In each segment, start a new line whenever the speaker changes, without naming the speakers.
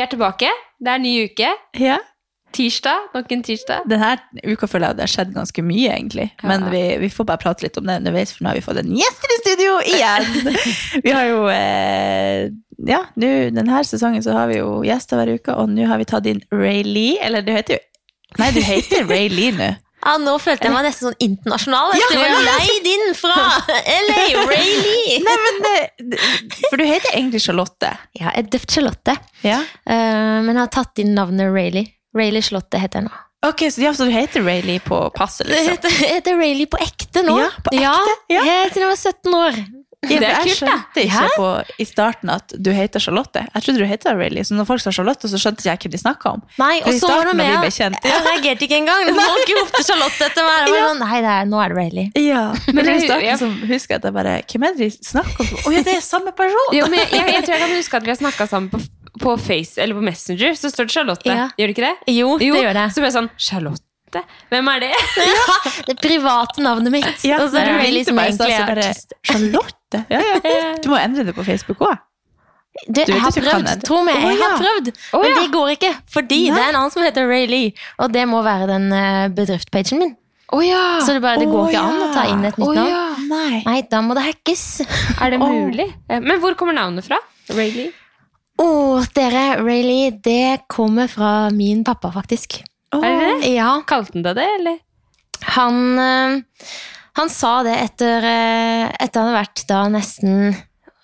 er tilbake. Det er en ny uke.
Ja.
Tirsdag. Nok en tirsdag.
Denne uka føler jeg det har skjedd ganske mye, egentlig.
Ja.
Men vi, vi får bare prate litt om det underveis, for nå har vi fått en gjest i studio igjen! vi har jo eh, Ja, nå denne sesongen så har vi jo gjester hver uke, og nå har vi tatt inn Ray Lee. Eller du heter jo Nei, du heter Ray Lee nå.
Ja, nå følte jeg meg nesten sånn internasjonal. Ja,
Ja.
Leid inn fra LA, Ray Lee!
Nei, men det, For du heter egentlig Charlotte.
Ja, jeg er døpt Charlotte,
Ja.
eh, men jeg har tatt inn navnet Rayleigh. Rayleigh Charlotte heter jeg nå.
Ok, så, ja, så du heter Ray Lee på passet,
Det
liksom?
heter, heter Rayleigh på ekte nå.
Ja, på ekte, ja.
Helt til jeg var 17 år.
Ja,
Det er
for jeg
kult, da.
skjønte ikke på, i starten at du heter Charlotte. Jeg trodde du heter Rayleigh, så når folk sa Charlotte, så skjønte jeg ikke hva de snakka om.
Nei,
For i
og så var det
starten da
med
vi ble kjent, ja.
Jeg reagerte ikke engang. Folk ropte Charlotte etter meg. Jeg var sånn, Nei, det er, nå er det Rayleigh.
Ja, Men i
det- ja.
starten så husker jeg at jeg bare Hvem er det de snakker om? Å ja, det er samme person!
Jo, men jeg, jeg, jeg tror jeg kan huske at vi har snakka sammen på, på Face eller på Messenger. Så står det Charlotte.
Ja.
Gjør det ikke det?
Jo, det
Jo,
gjør det.
Så ble jeg sånn Charlotte? Hvem er det?
Det private navnet mitt.
Ja,
og så er det
når du
Rayleigh
ringte
som
meg i stad,
egentlig
så
er
bare,
artist.
Charlotte? Ja, ja. Du må endre det på Facebook òg.
Du,
vet
jeg har
ikke hva han
prøvd,
heter.
tro meg, jeg
Å, ja.
har prøvd,
Å,
men
ja.
det går ikke. Fordi det er en annen som heter Rayleigh, og det må være den eh, bedriftspagen min.
Å ja!
Så det, bare, det
Å,
går ikke
ja.
an å ta inn et nytt
Å,
navn.
ja.
Nei.
Nei, da må det hackes.
Er det
Å.
mulig? Eh, Men hvor kommer navnet fra? Rayleigh?
Å, dere, Rayleigh, det kommer fra min pappa, faktisk.
Å,
Er det det?
Ja,
Kalte han deg det, eller?
han, eh, han sa det etter, eh, etter han hadde vært da nesten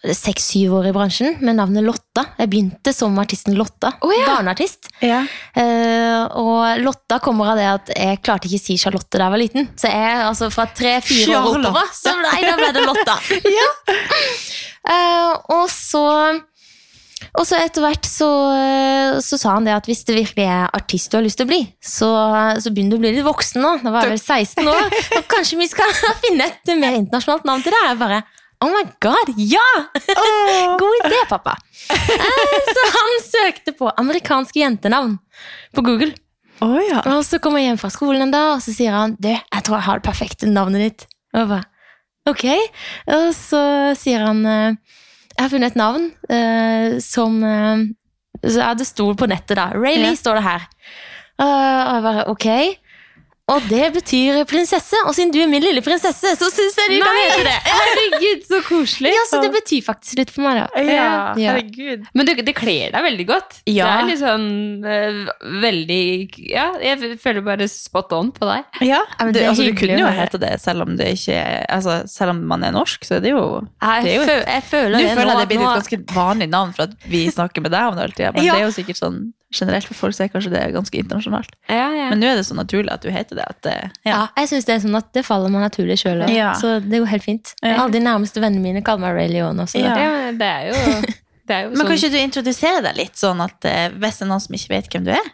seks-syv år i bransjen med navnet Lotta. Jeg begynte som artisten Lotta,
Å, ja.
barneartist.
Ja.
Eh, og Lotta kommer av det at jeg klarte ikke å si Charlotte da jeg var liten. Så jeg, altså fra tre-fire år
Charlotte.
oppover, så nei, da ble det Lotta. Eh, og så og så etter hvert så, så sa han det at hvis det virkelig er artist du har lyst til å bli, så, så begynner du å bli litt voksen nå. Nå var jeg vel 16 år. Og kanskje vi skal finne et mer internasjonalt navn til deg? Jeg bare Oh my god, ja!
Å.
God idé, pappa. Eh, Så han søkte på amerikanske jentenavn på Google.
Å, ja.
Og så kommer jeg hjem fra skolen en dag, og så sier han Du, jeg tror jeg har det perfekte navnet ditt. Og jeg bare, ok. Og så sier han «Eh, Jeg har funnet et navn eh, som eh, Så ja, det sto på nettet, da. Rayleigh
Ja.
står det her. Eh, og jeg bare ok. Og det betyr prinsesse. Og siden du er min lille prinsesse, så syns jeg du kan
Nei!
hete det.
Herregud, så koselig!
Ja, så det betyr faktisk litt for meg, da.
ja.
Ja.
Herregud.
Men du, det kler deg veldig godt. Det
Ja.
er litt sånn eh, veldig Ja, jeg føler bare spot on på deg.
Ja,
Ja, men
du,
det er
altså, du
hyggelig
kunne
å
jo
høre.
hete det selv om, det ikke, altså, selv om man er norsk, så er det jo Det er
Jeg,
jo et-
fø- jeg føler
Nå
det
føler
nå.
jeg det blir
nå-
et ganske vanlig navn for at vi snakker med deg om det hele tida. Men
Ja.
det er jo sikkert sånn generelt for folk, så er kanskje det er ganske internasjonalt.
Ja, ja.
Men nå er det så naturlig at du heter det. At det
Ja.
ja.
jeg synes Det er sånn at det faller meg naturlig sjøl.
Ja.
Så det går helt fint.
Ja.
Alle de nærmeste vennene mine kaller meg Ray Leon. Også,
Ja.
ja. men det er jo, det er jo
Men
sånn
kan ikke du introdusere deg litt, sånn at eh, hvis det er noen som ikke vet hvem du er?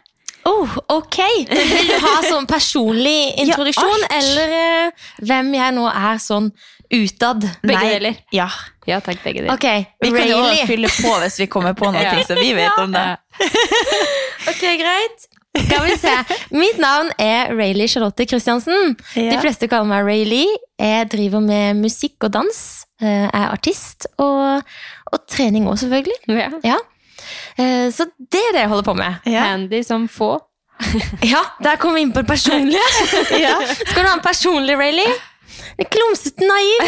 Oh, ok! Vil du ha sånn personlig introduksjon,
alt.
eller eh, hvem jeg nå er sånn utad?
Begge
Nei.
deler.
Ja.
Ja takk, begge deler.
Ok,
Vi kan jo
Rayleigh.
fylle på hvis vi kommer på noe
Ja.
som vi vet om det.
Ja.
Ok, greit. Skal vi se. Mitt navn er Rayleigh Charlotte Christiansen.
Ja.
De fleste kaller meg Rayleigh. Jeg driver med musikk og dans. eh, Jeg er artist. Og, og trening òg, selvfølgelig.
Ja.
Ja. Eh, Så det er det jeg holder på med.
Ja.
Handy som få.
Ja, der kom vi inn på det personlige.
Ja.
Skal du ha en personlig rally? En klumsete naiv.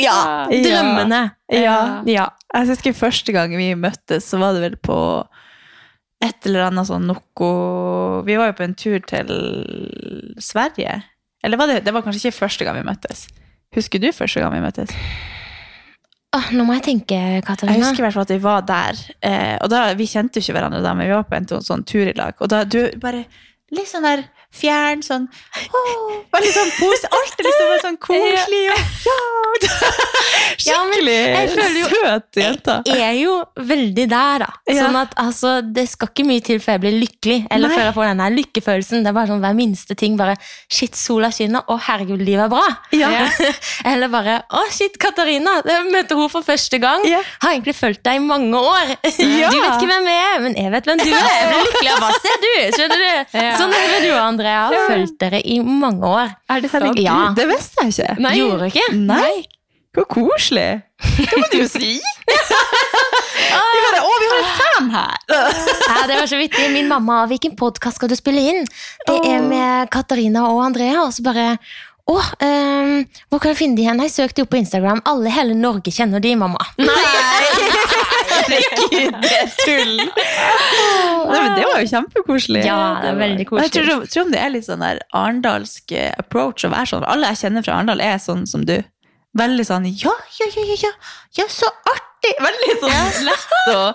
ja. Drømmene.
Ja.
ja.
Jeg husker første gang vi møttes, så var det vel på et eller annet sånn noe Vi var jo på en tur til Sverige. Eller var det, det var kanskje ikke første gang vi møttes. Husker du første gang vi møttes?
Åh, nå må jeg tenke,
Jeg
Katarina.
husker i hvert fall at vi var der. Eh, og da, Vi kjente jo ikke hverandre da, men vi var på en sånn, sånn tur i lag. Og da du bare litt sånn der fjern, sånn åh, Veldig sånn pose. Alt er liksom bare sånn koselig og ja.
Ja, men
Skikkelig
jeg føler jo-
søt jente.
Jeg er jo veldig der, da.
Ja.
Sånn at altså, Det skal ikke mye til før jeg blir lykkelig. Eller
Nei.
før jeg får den der lykkefølelsen. Det er bare sånn hver minste ting. bare, Shit, sola skinner. Å, herregud, livet er bra.
Ja.
Eller bare Å, shit, Katarina! Jeg møter hun for første gang.
Ja.
Har egentlig fulgt deg i mange år.
Ja.
Du vet ikke hvem jeg er, men jeg vet hvem du er. Jeg blir lykkelig av hva ser du? Skjønner du?
Ja.
Sånn er det med du og Andrea. Jeg
Ja.
har fulgt dere i mange år.
Er det sant?
Ja.
Det visste jeg ikke.
Nei.
Gjorde dere ikke?
Nei. Hvor koselig! Det må du jo si! Vi bare, å, vi har en fan her!
Ja, det var så vittig. Min mamma, hvilken podkast skal du spille inn? Det er
Åh.
med Katarina og Andrea. Og så bare Å, ehm, hvor kan jeg finne de hen? Jeg søkte de opp på Instagram. Alle i hele Norge kjenner de, mamma.
Herregud, det er tull! Nei, men det var jo kjempekoselig.
Ja, det er veldig koselig.
Jeg tror, tror om det er litt sånn der arendalsk eh, approach å være sånn. Alle jeg kjenner fra Arendal, er sånn som du. Veldig sånn ja, ja, ja, ja, ja, ja så artig! Veldig sånn lett og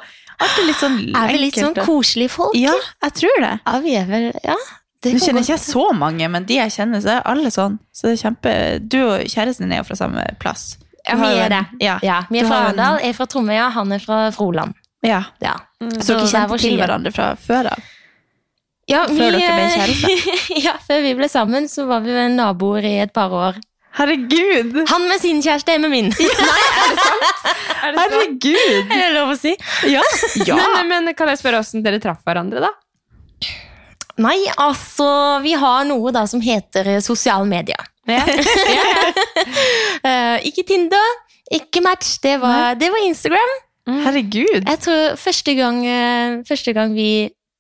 artig, litt sånn
Er vi litt sånn
enkelt og-
koselige folk?
Ja, jeg tror det.
Ja, vi er vel Ja. Det
Nå
kan
kjenner
godt-
ikke jeg så mange, men de jeg kjenner, så er alle sånn. Så det er kjempe... Du og kjæresten din er jo fra samme plass. Du
Ja,
har
vi
jo
er det.
en- Ja.
Ja, vi er
Du
fra
har en-
Arendal, jeg er fra Tromøya, han er fra Froland.
ja.
Ja.
Så dere
Mm, hver
kjente
vår
til
side.
hverandre fra før av?
Ja,
Før dere ble
kjærester? ja, før vi ble sammen, så var vi vel naboer i et par år.
Herregud!
Han med sin kjæreste, jeg med min.
Er det så?
Herregud!
Er det lov å si?
Ja! ja.
Men, men kan jeg spørre åssen dere traff hverandre, da?
Nei, altså, vi har noe da som heter eh, sosiale medier. Eh, ikke Tinder, ikke Match, det var, det var Instagram.
Herregud!
Jeg tror første gang, eh, første gang vi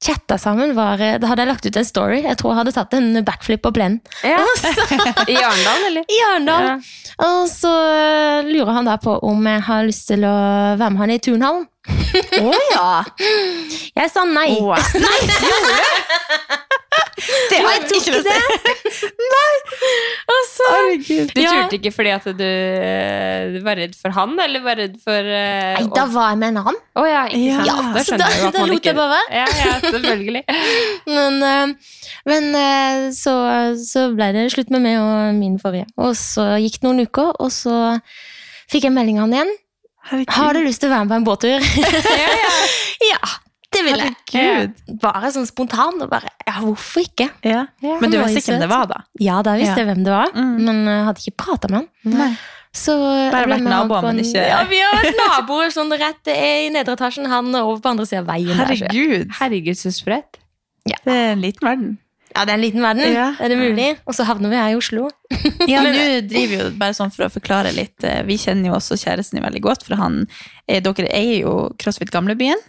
chatta sammen, var, eh, da hadde jeg lagt ut en story. Jeg tror jeg hadde tatt en backflip på plenen.
Ja.
Og så-
I Arendal, eller?
I Arendal. Og så eh, lurer han da på om jeg har lyst til å være med han i turnhallen.
Å ja!
Jeg sa nei.
Å. Nei, gjorde du? Det har
Jeg tok
ikke noe å si.
Og så
Herregud.
Du
Ja.
turte ikke fordi at du eh, var redd for han, eller var redd for eh,
Nei, da var jeg med en annen.
Å ja, ikke sant.
Ja,
da
så
skjønner
da,
jeg jo at
da
man
lot
ikke
jeg bare være.
Ja, ja, selvfølgelig.
Men, eh, men eh, så, så ble det slutt med meg og min forrige. Og så gikk det noen uker, og så fikk jeg melding av han igjen.
Herregud.
Har du lyst til å være med på en båttur?
Ja, ja.
ja, det vil jeg.
Herregud.
Bare sånn spontan. og bare, ja, Hvorfor ikke?
Ja.
Ja,
Men du
han var
visste ikke
jo
hvem
søt.
det var, da?
Ja, da visste jeg hvem det var,
Mm.
men jeg hadde ikke prata med han.
Nei.
Så jeg
Bare
ble
vært
med han
naboer,
på
men
en-
ikke-
Ja, vi har vært naboer sånn rett det er i nedre etasjen. Han er over på andre siden av veien. der, så-
Herregud!
Herregud, så sprøtt.
Det er en liten verden.
Ja, det er en liten verden.
Ja.
Er det mulig? Og så havner vi her i Oslo.
Ja, nå driver vi jo bare sånn for å forklare litt. eh, Vi kjenner jo også kjæresten din veldig godt, for han, eh, dere eier jo CrossFit Gamlebyen,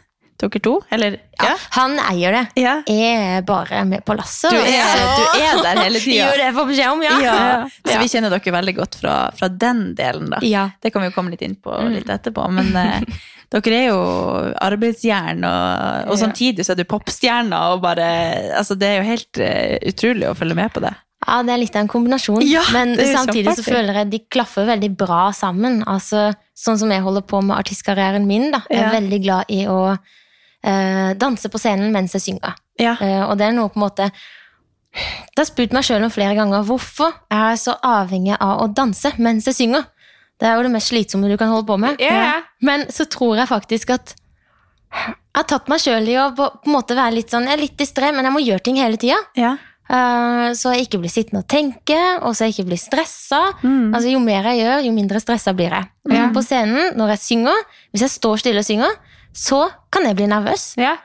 dere to. Eller? Ja.
Han eier det.
ja.
Jeg er bare med på lasset.
Du, er,
altså.
du er der hele
Jo,
tida.
det får beskjed om, ja.
Ja. Så vi kjenner dere veldig godt fra, fra den delen, da.
Ja.
Det kan vi jo komme litt inn på litt etterpå. Men eh, dere er jo arbeidsjern, og, og
Ja.
samtidig så er du popstjerner, og bare Altså, det er jo helt eh, utrolig å følge med på det.
Ja, det er litt av en kombinasjon.
Ja,
men
det er jo
samtidig så
kjempeartig.
føler jeg de klaffer veldig bra sammen. Altså, sånn som jeg holder på med artistkarrieren min, da. Jeg er
Ja.
veldig glad i å eh, danse på scenen mens jeg synger.
Ja.
Eh, og det er noe på en måte Det har spurt meg sjøl om flere ganger hvorfor er jeg så avhengig av å danse mens jeg synger. Det er jo det mest slitsomme du kan holde på med.
Ja, ja.
Men så tror jeg faktisk at jeg har tatt meg sjøl i å på på en måte være litt sånn Jeg er litt distré, men jeg må gjøre ting hele tida.
ja.
Eh, Så jeg ikke blir sittende og tenke, og så jeg ikke blir stressa.
Mm.
Altså, jo mer jeg gjør, jo mindre stressa blir jeg. Men På scenen, når jeg synger, hvis jeg står stille og synger, så kan jeg bli nervøs.
Ja.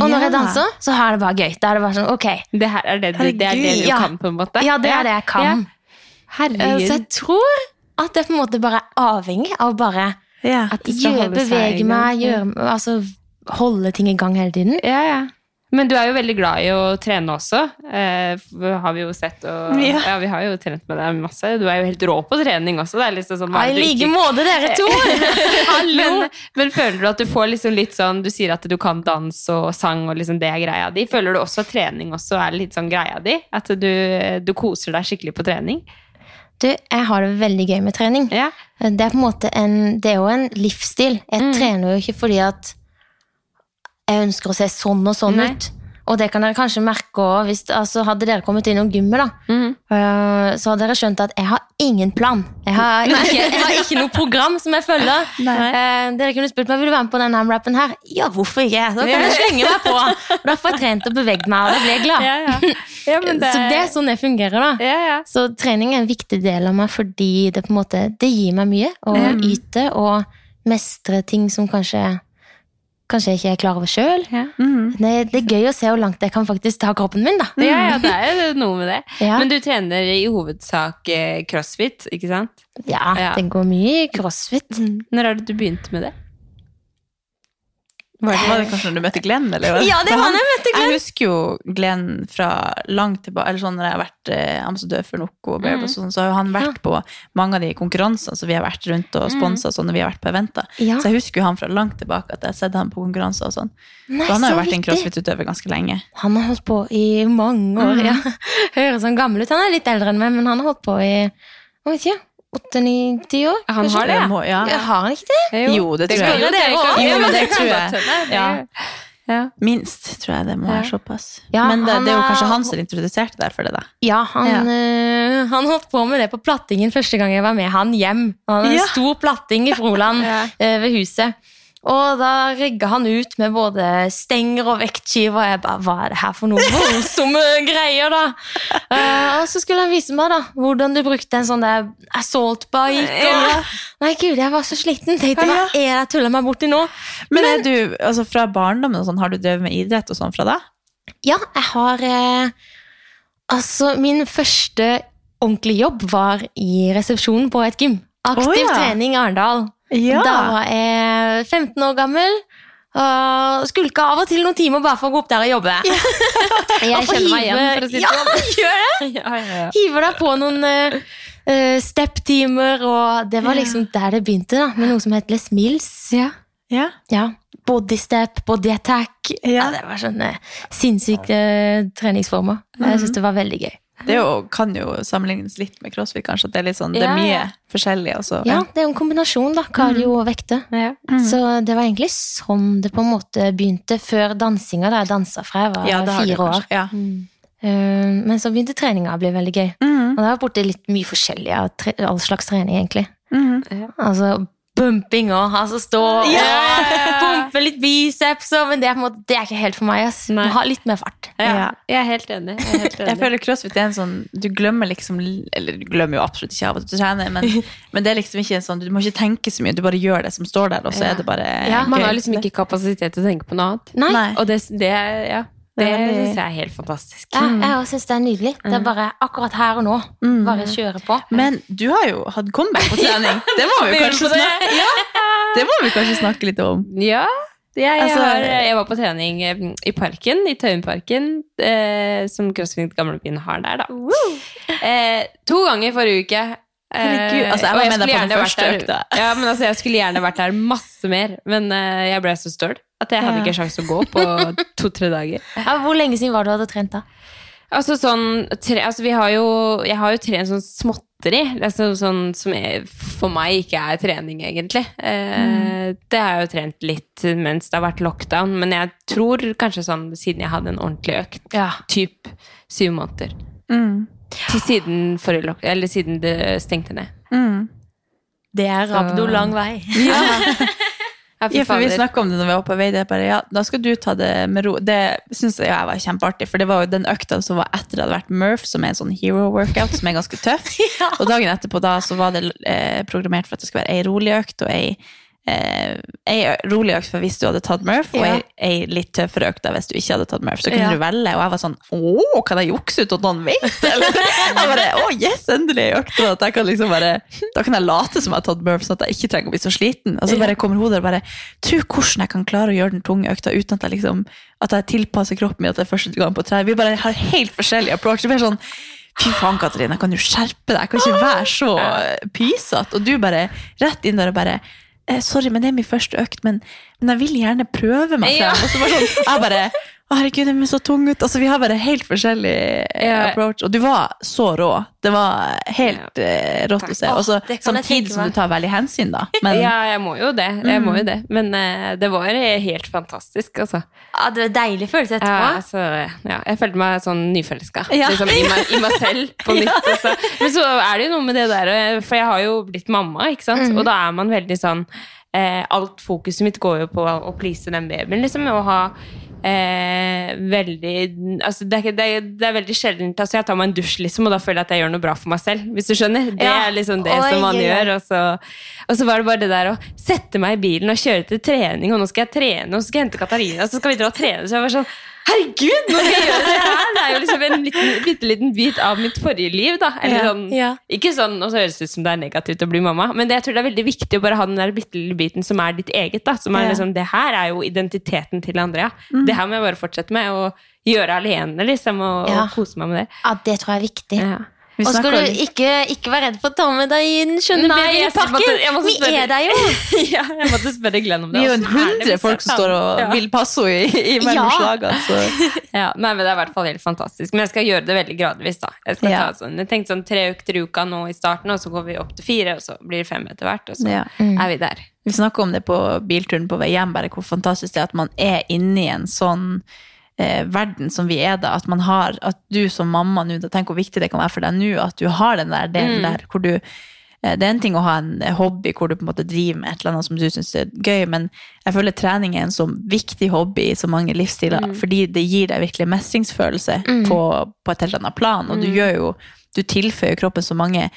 Og når
Ja.
jeg danser, så er det bare gøy. Da er det bare sånn, ok,
Det her er det du, det er det du
Herregud.
Ja.
kan, på en måte?
ja, det er det jeg kan. Eh, Så jeg
Herregud.
tror at jeg på en måte bare er avhengig av å bare
ja.
At det skal
gjøre,
holde seg i
bevege
gang.
meg, gjøre, altså, holde ting i gang hele tiden.
Ja, ja. Men du er jo veldig glad i å trene også, eh, for har vi jo sett. Og,
Ja.
ja. vi har jo trent med deg masse. Du er jo helt rå på trening også. Det er liksom sånn, hva
Ja,
er
I
det du
like
ikke-
måte, dere to!
men, men føler du at du får liksom litt sånn Du sier at du kan dans og sang, og liksom det er greia di. Føler du også at trening også er litt sånn greia di? At du, du koser deg skikkelig på trening?
Du, jeg har det veldig gøy med trening.
Ja. Mm.
Det er på en måte en, det er jo en livsstil. Jeg trener jo ikke fordi at jeg ønsker å se sånn og sånn
Nei.
ut. Og det kan dere kanskje merke òg. Altså, hadde dere kommet innom gymmet, da,
Mhm.
øh, så hadde dere skjønt at jeg har ingen plan. Jeg har ikke, jeg har ikke noe program som jeg følger.
Nei.
Eh, dere kunne spurt meg vil du være med på denne rappen her. Ja, hvorfor ikke? Da kan jeg slenge meg på. Og da får jeg trent og beveget meg, og da blir jeg glad.
Ja, ja. Ja, men det,
Så det er sånn det fungerer, da.
ja, ja.
Så trening er en viktig del av meg fordi det på en måte det gir meg mye å
Mm.
yte og mestre ting som kanskje Kanskje jeg ikke er klar over sjøl.
Mm.
Det, det er gøy å se hvor langt jeg kan faktisk ta kroppen min, da.
Ja, ja, det er jo noe med det.
Ja.
Men du trener i hovedsak eh, crossfit, ikke sant?
Ja,
Ja. Mm.
Den går mye i crossfit.
Når har du begynt med det?
Var det, var det kanskje når du møtte Glenn? Eller? hva?
Ja, det var når jeg møtte Glenn.
Jeg husker jo Glenn fra langt tilbake, eller sånn når jeg har vært eh, ambassadør for Noco og
Mm.
Babe og sånn, så har jo han vært på mange av de konkurransene som vi har vært rundt og sponset og sånn når vi har vært på eventer.
Mm. Ja.
Så jeg husker jo han fra langt tilbake at jeg har sett han på konkurranser og sånn.
Nei,
så han har jo
så
vært en
vittig.
crossfit-utøver ganske lenge.
Han har holdt på i mange år, ja. Høres sånn gammel ut. Han er litt eldre enn meg, men han har holdt på i jeg vet ikke, åtte-ni-ti år.
Han
kanskje?
har det, ja.
Må, ja.
Ja, Har han ikke det?
Jo, det tror jeg.
skulle
Det
dere
også.
ikke-
Jo,
Ja,
men
men
det
kan
tror
godt
jeg.
hende.
Ja.
Ja.
Minst, tror jeg det må være såpass.
Ja,
Men det,
han
det er jo
er-
kanskje han som introduserte deg for det, da.
Ja, han, øh, han holdt på med det på plattingen første gang jeg var med han hjem. Han hadde
Ja.
en stor platting i Froland
Ja.
øh, ved huset. Og da rigga han ut med både stenger og vektskive, og jeg bare Hva er det her for noe voldsomme greier, da? Eh, og så skulle han vise meg da hvordan du brukte en sånn der assault bike.
Ja.
Og, nei, gud, jeg var så sliten. Tenkte, hva
Ja.
er det jeg tuller meg borti nå?
Men er du, altså fra barndommen og sånn, har du drevet med idrett og sånn fra da?
Ja, jeg har eh, Altså, min første ordentlige jobb var i resepsjonen på et gym. Aktiv
Å, ja.
trening Arendal.
Ja.
Da var jeg 15 år gammel. Og skulka av og til noen timer bare for å gå opp der og jobbe.
Jeg kjenner meg igjen,
hiver-
for å si det
ja,
sånn.
gjør det.
Ja, ja, ja.
Hiver deg på noen eh, eh, step-timer, og det var liksom der det begynte, da, med noe som het Les Mills.
ja.
Ja. Bodystep, bodyattack.
Ja.
Ja. det var sånne sinnssyke eh, treningsformer. Jeg syns det var veldig gøy.
Det er jo, kan jo sammenlignes litt med crossfit, kanskje. At det er litt sånn, det
Ja,
er mye
ja.
forskjellig. Og så,
Ja, Mhm. Det er jo en kombinasjon, da. Kardio og vekter.
Ja.
Så det var egentlig sånn det på en måte begynte, før dansinga, da jeg dansa fra jeg var
Ja, det har du
fire år.
kanskje. Ja.
Mm.
Eh, Men så begynte treninga å bli veldig gøy. Og da har jeg vært borti litt mye forskjellig av tre- all slags trening, egentlig.
Mhm.
Altså bumping og altså stå og
Ja.
pumpe litt biceps og Men det er, på en måte, det er ikke helt for meg. ass. Må
Nei.
ha litt mer fart.
Ja. Jeg er helt enig. Jeg er helt
Jeg
enig.
føler crossfit er en sånn Du glemmer liksom Eller du glemmer jo absolutt ikke av at du trener, men, men det er liksom ikke en sånn Du må ikke tenke så mye, du bare gjør det som står der, og så er det bare
Ja, man
gøy.
har liksom ikke kapasitet til å tenke på noe annet.
Nei,
Nei.
Og det, det, ja, det
Det er veldig-
syns jeg er helt fantastisk.
Ja, jeg også synes det er nydelig. Det er bare akkurat her og nå. Bare kjøre på.
Mm. Men du har jo hatt comeback på trening. Det må vi jo
Hører
kanskje
på det?
snakke, det må vi kanskje snakke litt om.
Ja, jeg, jeg,
Altså-
har, jeg var på trening eh, i parken, i Tøyenparken, eh, som CrossFit Gamlebyen har der, da. Eh, to ganger forrige uke. Eh,
Herregud, altså, jeg var
og
med deg
skulle
på den
gjerne vært
første
der-
økta.
Ja, men altså, jeg skulle gjerne vært der masse mer, men eh, jeg ble så støl at jeg hadde
Ja.
ikke sjans til å gå på to-tre dager.
Ja, hvor lenge siden var det du hadde trent, da?
Altså sånn tre, altså, vi har jo, Jeg har jo trent sånn småtteri, altså, sånn, som er, for meg ikke er trening, egentlig. Eh,
Mm.
Det har jeg jo trent litt mens det har vært lockdown, men jeg tror kanskje sånn siden jeg hadde en ordentlig økt,
Ja.
typ syv måneder.
Mm.
Til siden, forrige lock- eller siden det stengte ned.
Mm.
Det er
rabdo lang
vei.
Ja, fy
Ja, for vi
fader.
snakka om det når vi var på vei. Det er bare, ja, da skal du ta det med ro. Det syns jeg var kjempeartig, for det var jo den økta som var etter det hadde vært Murph, som er en sånn hero workout som er ganske tøff. Og dagen etterpå da så var det eh, programmert for at det skulle være ei rolig økt og ei Eh, ei ø- rolig økt for hvis du hadde tatt Murph, og
Ja.
ei, ei litt tøffere økt da hvis du ikke hadde tatt Murph. Så kunne
Ja.
du velge, og jeg var sånn Å, kan jeg jukse ut at noen vet? Eller, jeg bare, Å, yes, endelig ei økt! Og at jeg kan liksom bare, da kan jeg late som jeg har tatt Murph, sånn at jeg ikke trenger å bli så sliten. Og så bare kommer hodet og bare Tro hvordan jeg kan klare å gjøre den tunge økta uten at jeg liksom At jeg tilpasser kroppen min at det er første gang på trening. Vi bare har helt forskjellig approach. Det blir sånn Fy faen, Katarina, kan du skjerpe deg? Jeg kan ikke være så pysete. Og du bare rett inn der og bare eh, Sorry, men det er min første økt, men, men jeg vil gjerne prøve meg frem.
Ja.
Og så bare sånn, jeg bare å, herregud, den er så tung ut. Altså, vi har bare helt forskjellig eh,
Ja.
approach. Og du var så rå. Det var helt eh, rått å se.
Åh,
Og så
det kan jeg tenke
samtidig som
meg.
du tar veldig hensyn, da. Men
Ja, jeg må jo det. Jeg må
Mm.
jo det. Men eh, det var helt fantastisk, altså.
Ja, det var deilig
Ja,
følelse etterpå.
altså, ja, jeg følte meg sånn nyforelska
Ja.
liksom, i, meg- i meg selv på nytt. altså. Men så er det jo noe med det der, eh, for jeg har jo blitt mamma, ikke sant?
Mhm.
og da er man veldig sånn eh, Alt fokuset mitt går jo på å please den babyen, liksom. Og ha eh, veldig altså, det, er, ikke- det, er, det er veldig sjeldent. Altså, jeg tar meg en dusj, liksom, og da føler jeg at jeg gjør noe bra for meg selv. Hvis du skjønner? Det
Ja.
er liksom det
Oi,
som man
oi, oi.
gjør. Og så, og så var det bare det der å sette meg i bilen og kjøre til trening, og nå skal jeg trene, og så skal jeg hente Katarina, og så skal vi dra og trene. Så jeg var sånn Herregud, nå skal jeg gjøre det her! Det er jo liksom en liten, bitte liten bit av mitt forrige liv, da. Eller
Ja.
sånn,
Ja.
Ikke sånn, og så høres det ut som det er negativt å bli mamma, men det, jeg tror det er veldig viktig å bare ha den der bitte lille biten som er ditt eget, da. Som er
Ja.
liksom Det her er jo identiteten til Andrea. Det her må jeg bare fortsette med, og gjøre alene, liksom, og,
Ja.
og kose meg med det.
Ja, det tror jeg er viktig.
Ja.
Vi
Og skal
snakker
du ikke, ikke være redd for å ta med deg inn
Nei,
skjønne babyen i
jeg måtte- jeg
parken?
måtte
Vi
spørre.
er der jo!
ja, jeg måtte spørre Glenn om det.
Vi er jo en
Hvordan det
hundre
hvis jeg
folk som
kan?
står og
Ja.
vil passord i, i mellom
Ja.
slagene. Så.
Ja, nei, men Det er i hvert fall helt fantastisk. Men jeg skal gjøre det veldig gradvis. da. Jeg skal
Ja.
ta sånn, jeg tenkte sånn tre økter i uka nå i starten, og så går vi opp til fire, og så blir det fem etter hvert. Og så
Ja. Mm.
er vi der.
Vi snakka om det på bilturen på vei hjem, bare hvor fantastisk det er at man er inni en sånn eh, verden som vi er da. At man har, at du som mamma nå, da, tenk hvor viktig det kan være for deg nå, at du har den der delen der hvor du eh, det er en ting å ha en hobby hvor du på en måte driver med et eller annet som du syns er gøy, men jeg føler trening er en så viktig hobby i så mange livsstiler, fordi det gir deg virkelig mestringsfølelse på, på et helt annet plan, og du gjør jo Du tilføyer kroppen så mange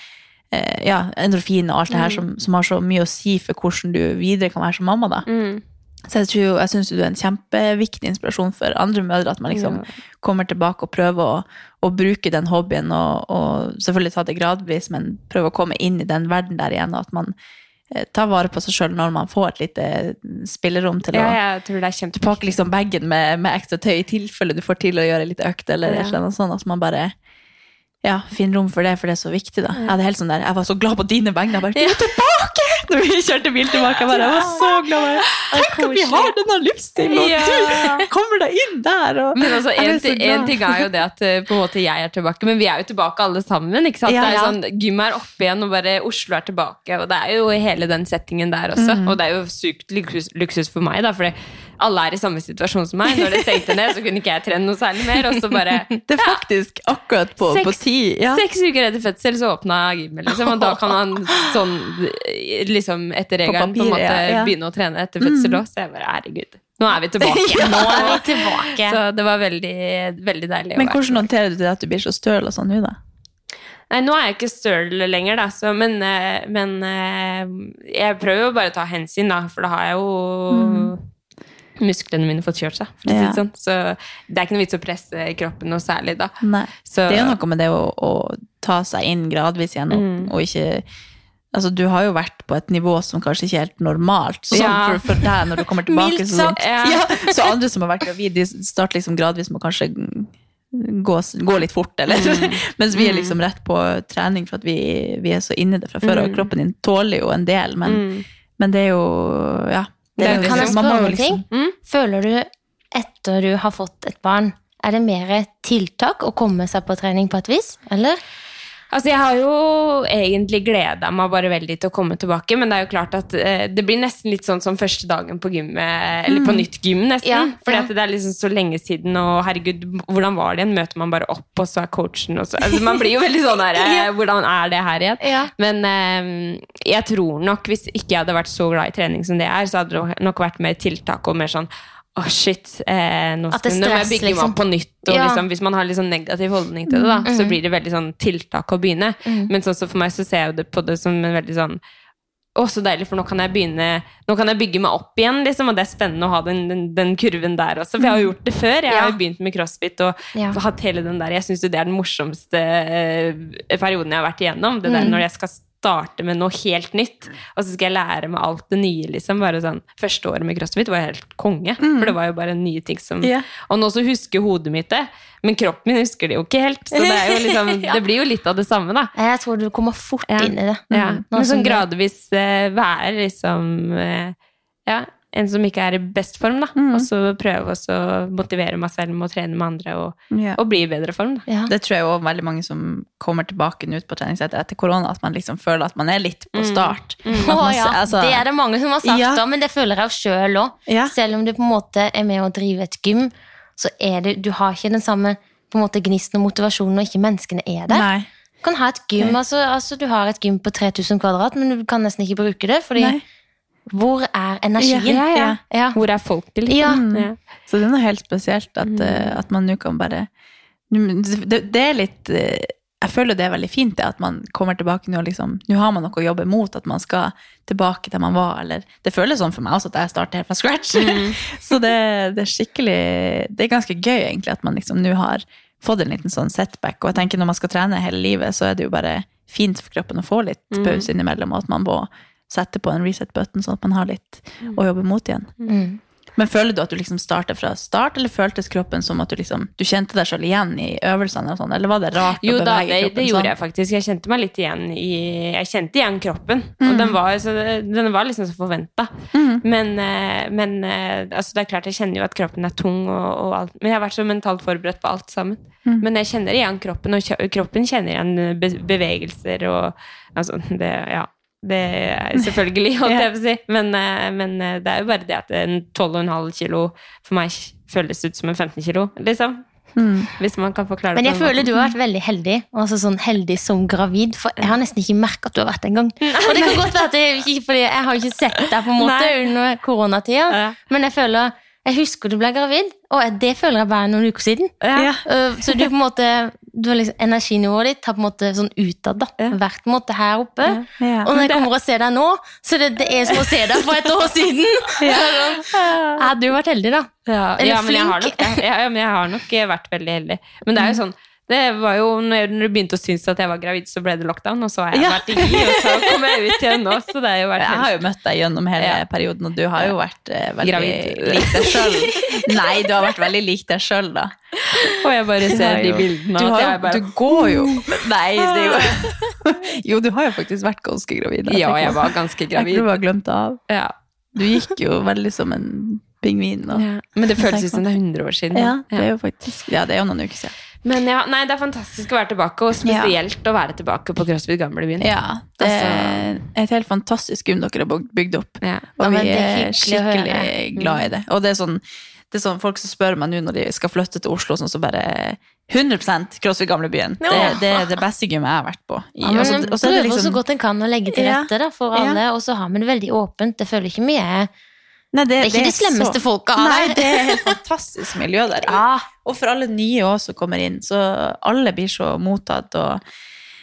eh, ja, endorfiner og alt det her
Mm.
som, som har så mye å si for hvordan du videre kan være som mamma, da.
Mm.
Så jeg, tror, jeg syns du er en kjempeviktig inspirasjon for andre mødre. At man liksom kommer tilbake og prøver å, å bruke den hobbyen, og, og selvfølgelig ta det gradvis, men prøve å komme inn i den verden der igjen. Og at man eh, tar vare på seg sjøl når man får et lite spillerom til
Ja,
å
jeg tror det er
Du
kjempeviktig.
pakker liksom bagen med, med ekstra tøy i tilfelle du får til å gjøre litt økt, eller et
Ja.
eller annet sånt. At man bare ja, finner rom for det, for det er så viktig, da. Jeg, hadde helt sånn der, jeg var så glad på dine vegne. Jeg bare Du er tilbake! Når vi kjørte bil tilbake, jeg bare jeg var så glad. Jeg, Tenk at vi har denne livsstilen, og
Ja.
du kommer deg inn der! Og,
Men altså,
Jeg er
en,
så
ti- en
glad.
ting er jo det at eh, på en måte jeg er tilbake, men vi er jo tilbake alle sammen. ikke sant?
Ja,
Det er jo
ja.
sånn, Gym er oppe igjen, og bare Oslo er tilbake. Og det er jo hele den settingen der også.
Mm.
Og det er jo sykt luksus, luksus for meg, da, fordi alle er i samme situasjon som meg. Når det stengte ned, så kunne ikke jeg trene noe særlig mer. og så bare...
det er faktisk akkurat på,
Seks-
på tid. Ja.
Seks uker etter fødsel så åpna gymmet, liksom, og da kan han sånn liksom etter regelen på, en
papiret,
måte
ja, ja. Mm.
begynne å trene etter fødsel òg. Så jeg bare herregud, nå er vi tilbake.
Nå er vi tilbake.
Så det var veldig, veldig deilig. å
Men
være
hvordan håndterer du det at du blir så støl og sånn nå, da?
Nei, nå er jeg ikke støl lenger, da, så, men, eh, men eh, jeg prøver jo bare å ta hensyn, da, for da har jeg jo musklene mine fått kjørt seg. For å si
Mhm. Ja.
det sånn. Så det er ikke noe vits å presse kroppen noe særlig da.
Nei.
Så,
Det er jo noe med det å, å ta seg inn gradvis igjen, og,
Mm.
og ikke Altså, du har jo vært på et nivå som kanskje ikke er helt normalt. Sånn
Ja.
for, for deg når du kommer tilbake.
Mildt
så,
sagt,
ja.
ja. så andre som har vært gravid, de starter liksom gradvis med å kanskje gå, gå litt fort, eller
Mm.
Mens vi er liksom rett på trening for at vi, vi er så inni det fra før,
Mm.
og kroppen din tåler jo en del, men, men det er jo Ja.
Det er jo
jo
liksom-
Kan
man
jeg
må
spørre
jo
om en ting?
liksom-
Mm.
Føler du etter du har fått et barn, er det mer tiltak å komme seg på trening på et vis? Eller?
Altså, jeg har jo egentlig gleda meg bare veldig til å komme tilbake, men det er jo klart at eh, det blir nesten litt sånn som første dagen på gymmet, eller på nytt gym, nesten.
Mm. Ja,
Fordi
ja.
at det er liksom så lenge siden, og herregud, hvordan var det igjen? Møter man bare opp, og så er coachen og så altså, Man blir jo veldig sånn her, eh, hvordan er det her igjen?
Ja.
Men eh, jeg tror nok, hvis ikke jeg hadde vært så glad i trening som det jeg er, så hadde det nok vært mer tiltak og mer sånn å, shit. Eh, nå,
At det
skal, nå må jeg
stress,
bygge meg
liksom.
opp på nytt. Og
Ja. Mm,
liksom, hvis man har litt sånn negativ holdning til det, da, så blir det veldig sånn tiltak å begynne. Men sånn som for meg så ser jeg jo det på det som en veldig sånn å, så deilig, for nå kan jeg begynne Nå kan jeg bygge meg opp igjen, liksom, og det er spennende å ha den, den, den kurven der også. For jeg har jo gjort det før. Jeg har jo begynt med crossfit og
Ja.
hatt hele den der Jeg syns jo det er den morsomste eh, perioden jeg har vært igjennom. Det der når jeg skal starte med noe helt nytt, og så skal jeg lære meg alt det nye, liksom. Bare sånn Første året med crossfit var helt konge, for det var jo bare nye ting som
Ja.
Og nå så husker hodet mitt det, men kroppen min husker det jo ikke helt. Så det, er jo liksom, det blir jo litt av det samme, da.
Nei, Jeg tror du kommer fort
Ja.
inn i det.
Ja.
Mm. Nå
Men
som
sånn
du-
gradvis eh, være liksom eh, Ja, en som ikke er i best form, da. Og så prøve også å motivere meg selv med å trene med andre og,
Ja.
og bli i bedre form, da.
Ja.
Det tror jeg også veldig mange som kommer tilbake nå ut på treningssenter etter korona, at man liksom føler at man er litt på start. At man
Mm. Å,
s-
ja.
altså-
det er det mange som har sagt,
Ja.
da, men det føler jeg jo sjøl òg.
Ja.
Selv om du på en måte er med å drive et gym, så er det, du har ikke den samme på en måte, gnisten og motivasjonen når ikke menneskene er der.
Nei.
Du kan ha et gym, altså, altså Du har et gym på 3000 kvadrat, men du kan nesten ikke bruke det, fordi
Nei.
hvor er energien?
Ja, ja.
Ja.
Hvor er folket, liksom?
Ja.
Ja.
Så det er noe helt spesielt at, eh, at man nå kan bare det, det er litt eh, jeg føler det er veldig fint det at man kommer tilbake nå. liksom, Nå har man noe å jobbe mot, at man skal tilbake der man var. eller Det føles sånn for meg også at jeg starter helt fra scratch. Så det, det er skikkelig Det er ganske gøy, egentlig, at man liksom nå har fått en liten sånn setback. Og jeg tenker når man skal trene hele livet, så er det jo bare fint for kroppen å få litt pause innimellom, og at man må sette på en reset button, sånn at man har litt å jobbe mot igjen.
Mm.
Men føler du at du liksom startet fra start, eller føltes kroppen som at du liksom, du kjente deg selv igjen i øvelsene? og sånn, Eller var det rart
Jo
å
da,
bevege
det,
kroppen
det gjorde
sånn?
jeg faktisk. Jeg kjente meg litt igjen i Jeg kjente igjen kroppen. Og den var, så, den var liksom som forventa. Men, eh, men eh, altså, det er klart, jeg kjenner jo at kroppen er tung og, og alt. Men jeg har vært så mentalt forberedt på alt sammen. Men jeg kjenner igjen kroppen, og kje- kroppen kjenner igjen eh, be bevegelser og Altså, det Ja. Det er selvfølgelig, holdt jeg på å si. Men, eh, men eh, det er jo bare det at en 12,5 kilo for meg føles ut som en 15 kilo, liksom. Hvis man kan forklare
Men
det
jeg føler du har vært veldig heldig, altså sånn heldig som gravid, for jeg har nesten ikke merket at du har vært det engang. Og det kan godt være at det ikke, fordi jeg har ikke sett deg på en måte
Nei.
under koronatida,
Ja.
men jeg føler jeg husker du ble gravid, og det føler jeg bare er noen uker siden.
Ja.
Ja.
Øh, Så du på en måte, du har liksom, energinivået ditt har på en måte sånn utad, da.
Ja.
Vært på en måte her oppe.
Ja.
Og når jeg kommer og ser deg nå, så det, det er som å se deg for et år siden. Jeg hadde jo vært heldig, da.
Ja,
Eller
ja, men jeg har nok
flink.
det. Ja, ja, men jeg har nok eh, vært veldig heldig. Men det
Mm.
er jo sånn det var jo, når jeg- når du begynte å synes at jeg var gravid, så ble det lockdown, og så har jeg
Ja.
vært i, og så kom jeg ut igjen nå, så det har jo vært
Jeg
helt
har jo møtt deg gjennom hele
Ja.
perioden, og du har jo vært eh, veldig
Gravid.
lik deg sjøl. Nei, du har vært veldig lik deg sjøl, da.
Og jeg bare ser
har
de
jo-
bildene,
Du,
og
har
at
jo,
jeg bare
du går jo Nei, det er jo Jo, du har jo faktisk vært ganske gravid.
Ja,
tenker
jeg
på.
var ganske
Jeg tror
gravid.
du har glemt det av.
Ja.
Du gikk jo veldig som en pingvin. Og,
Ja. Men det føles ut som det er 100 år siden.
ja,
Ja.
det er jo faktisk Ja, det er jo noen uker siden.
Men ja, nei, det er fantastisk å være tilbake, og spesielt å være tilbake på CrossFit Gamlebyen.
Ja, det
Altså-
er et helt fantastisk gym dere har bygd opp.
Ja.
Ja,
Og
men
vi
det er
er
hyggelig å høre. Mm.
skikkelig glad i det. Og det er sånn, det er sånn folk som spør meg nå når de skal flytte til Oslo, sånn som bare 100 CrossFit Gamlebyen. Det, det er det beste gymmet jeg har vært på. I,
Ja, men
og så-
man
og så er
prøver
det liksom-
så godt en kan å legge til
Ja.
rette da, for
Ja.
alle, og så har vi det veldig åpent. Det føler ikke mye.
Nei,
Det er ikke de slemmeste folka av
Nei,
der.
det er helt fantastisk miljø der.
Ja.
Og for alle nye også som kommer inn, så alle blir så mottatt og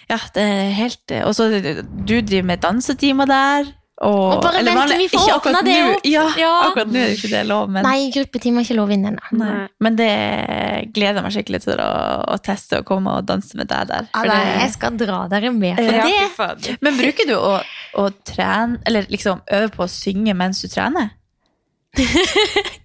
Ja, det er helt Og så du driver med dansetimer der. Og,
Og bare
eller
vent til
vanlig-
vi får
ikke
åpnet
akkurat
det
nå.
opp.
Ja,
Ja.
akkurat nå er det ikke det lov, men
Nei, gruppetime er ikke lov inne ennå.
Nei. Men det gleder jeg meg skikkelig til å, å teste og komme og danse med deg der.
Ja,
For
nei,
det-
Jeg skal dra dere med på
Ja, fy
det.
fader.
Men bruker du å, å trene, eller liksom øve på å synge mens du trener?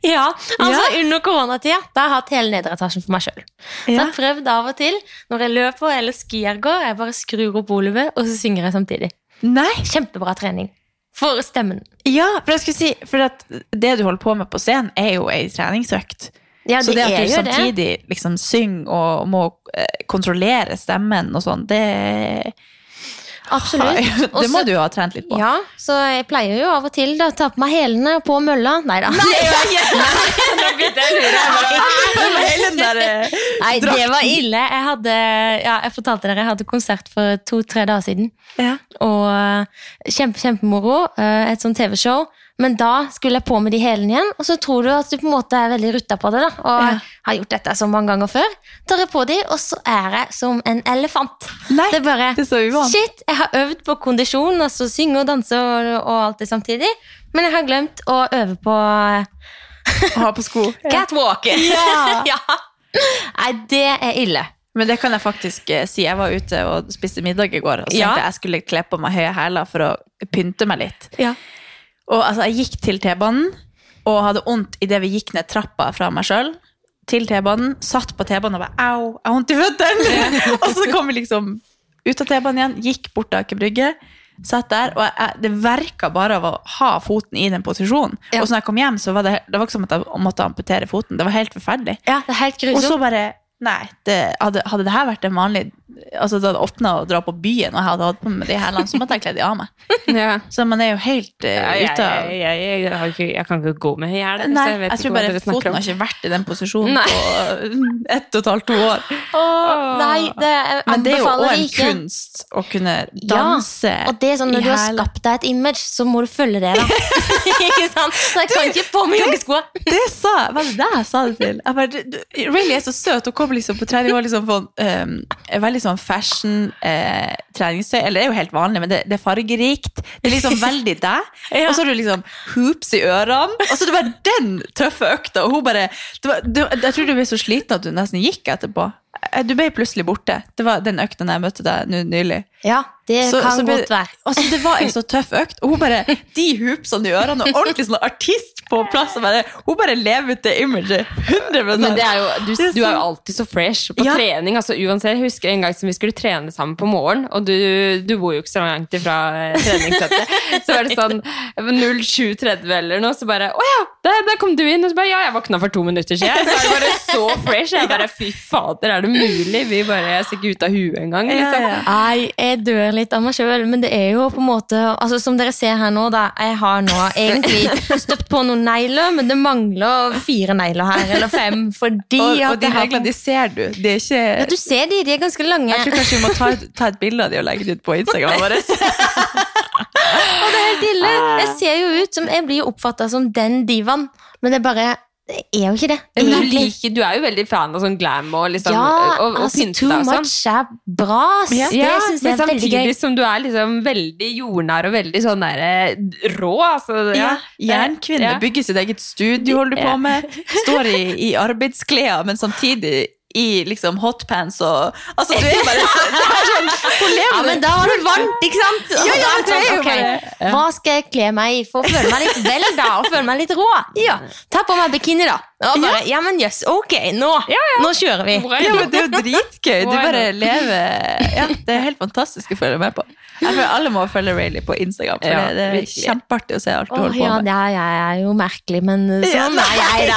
Ja, altså Under koronatida da har jeg hatt hele nedre etasjen for meg sjøl. Så jeg har prøvd av og til, når jeg løper eller skier går, jeg bare skrur opp volumet, og så synger jeg samtidig.
Nei?
Kjempebra trening. For stemmen.
Ja, for jeg skulle si, for at det du holder på med på scenen er jo ei treningsøkt.
Ja,
Så det at du
er jo det.
samtidig liksom synger og må eh, kontrollere stemmen og sånn, det,
Absolutt.
det må
Også-
du jo ha trent litt på.
Ja, så jeg pleier jo av og til da, å ta på meg hælene på mølla. Nei da.
Nå begynte jeg å lure. Jeg bare,
Hele den der, eh,
Nei, det
drakten.
var ille. Jeg hadde, ja, jeg fortalte dere, jeg hadde konsert for to-tre dager siden.
Ja.
Og eh, kjempe, kjempemoro. eh, Et sånt TV-show. Men da skulle jeg på med de hælene igjen, og så tror du at du på en måte er veldig rutta på det. da, Og
Ja.
har gjort dette så mange ganger før. Tar jeg på de, og så er jeg som en elefant.
Nei,
Det er bare
det er så uvant.
Shit, jeg har øvd på kondisjon, altså synge og danse og, og alt det samtidig. Men jeg har glemt å øve på eh,
Å ha på sko.
catwalk.
Ja.
ja. Nei, det er ille.
Men det kan jeg faktisk eh, si. Jeg var ute og spiste middag i går, og så
Ja.
tenkte jeg jeg skulle kle på meg høye hæler for å pynte meg litt.
Ja.
Og altså, jeg gikk til T-banen, og hadde vondt idet vi gikk ned trappa fra meg sjøl. Til T-banen, satt på T-banen og bare au, jeg har vondt i føttene! og så kom vi liksom ut av T-banen igjen, gikk bort til Aker Brygge. Satt der, og jeg, jeg, Det verka bare av å ha foten i den posisjonen.
Ja.
Og så når jeg kom hjem, så var det, det var ikke som at jeg måtte amputere foten. Det var helt forferdelig.
Ja, det er helt
Og så
grusomt.
bare Nei, det, hadde, hadde det her vært en vanlig Altså, det hadde åpna å dra på byen, og jeg hadde hatt på meg de hælene, så måtte jeg kledd de av meg.
Ja.
Så man er jo helt eh,
Ja, jeg,
ute av
jeg, jeg, jeg, har ikke, jeg kan ikke gå med i hjel.
Nei,
så
jeg,
vet ikke
tror
hva
bare
dere snakker
foten
om.
har ikke vært i den posisjonen
Nei.
på ett og et halvt to år.
Åh.
Nei, det jeg
Men det er jo også
anbefaler jeg
en
ikke.
kunst å kunne danse.
Og det er sånn,
i
Når du har
hæl.
skapt deg et image, så må du følge det. da. ikke sant? Så jeg kan ikke på meg joggeskoa.
Det sa Var det deg jeg sa det til? Jeg bare, du, du, Rayleigh er så søt. Hun kommer liksom på trening og liksom på um, en veldig sånn fashion eh, treningstøy. Eller det er jo helt vanlig, men det, det er fargerikt. Det er liksom veldig deg. Og så har du liksom hoops i ørene. Og så er det bare den tøffe økta, og hun bare det var, det, var- Jeg tror du ble så sliten at du nesten gikk etterpå. Eh, Du ble plutselig borte. Det var den økta når jeg møtte deg nå nylig.
Ja, det
Så-
kan
så blir-
godt være.
Altså, det var en så tøff økt, og hun bare De hoopsene i ørene, og ordentlig sånn artist på plass. Og bare, hun bare lever ut det imaget. 100
Men det er jo, du,
Det er
du er jo
sant.
alltid så fresh på
Ja.
trening. altså uansett, Jeg husker en gang som vi skulle trene sammen på morgen, og du, du bor jo ikke så langt ifra eh, treningssettet. Så var det sånn 07.30 eller noe, så bare Å ja, der, der kom du inn! Og så bare Ja, jeg våkna for to minutter siden. Så er det bare så fresh. Jeg bare Fy fader, er det mulig? Vi bare Jeg ser ikke ut av huet engang. Liksom.
Ja, ja.
Nei, jeg dør litt av meg sjøl, men det er jo på en måte altså Som dere ser her nå, da. Jeg har nå egentlig støpt på noen negler, men det mangler fire negler her, eller fem, fordi
Og, og
at
de
jeg har
reglene, de ser du. Det er ikke
Ja, Du ser de, de er ganske lange.
Jeg tror kanskje vi må ta, et- ta et bilde av de og legge det ut på Instagram vår.
Det er helt ille. Jeg ser jo ut som Jeg blir jo oppfatta som den divaen, men det er bare Det er jo ikke det.
Men Du,
egentlig.
liker, du er jo veldig fan av sånn glam og, liksom,
eh,
Ja,
og, og
altså,
pynte
too
deg og sånn.
much er bra. ass.
Ja.
det syns jeg
men
er veldig
samtidig
gøy.
som du er liksom veldig jordnær og veldig sånn der eh, rå, altså. Ja.
Jernkvinne
Ja.
bygger sitt eget studio, holder du på
Ja.
med. Står i, i arbeidsklær, men samtidig i liksom hotpants og Altså, du er bare så, det er sånn, Hun
Ja,
lever
men da var det varmt, ikke sant? Og
Ja, ja,
da
det
er
er jo
sånn, ok,
bare-
Hva skal jeg kle meg i for å føle meg litt vel da, og føle meg litt rå? Ja, Ta på meg bikini, da. Og bare, ja, men jøss, ok, nå, nå kjører vi.
Why
Ja,
not?
men det er jo dritgøy. Du
Why
bare
not?
lever Ja, det er helt fantastisk å følge med på. Jeg føler Alle må følge Rayleigh på Instagram, for
Ja,
det, det er
virkelig.
kjempeartig å se alt du
Åh,
holder på
ja,
med.
ja, jeg er jo merkelig, men
Ja,
sånn er jeg,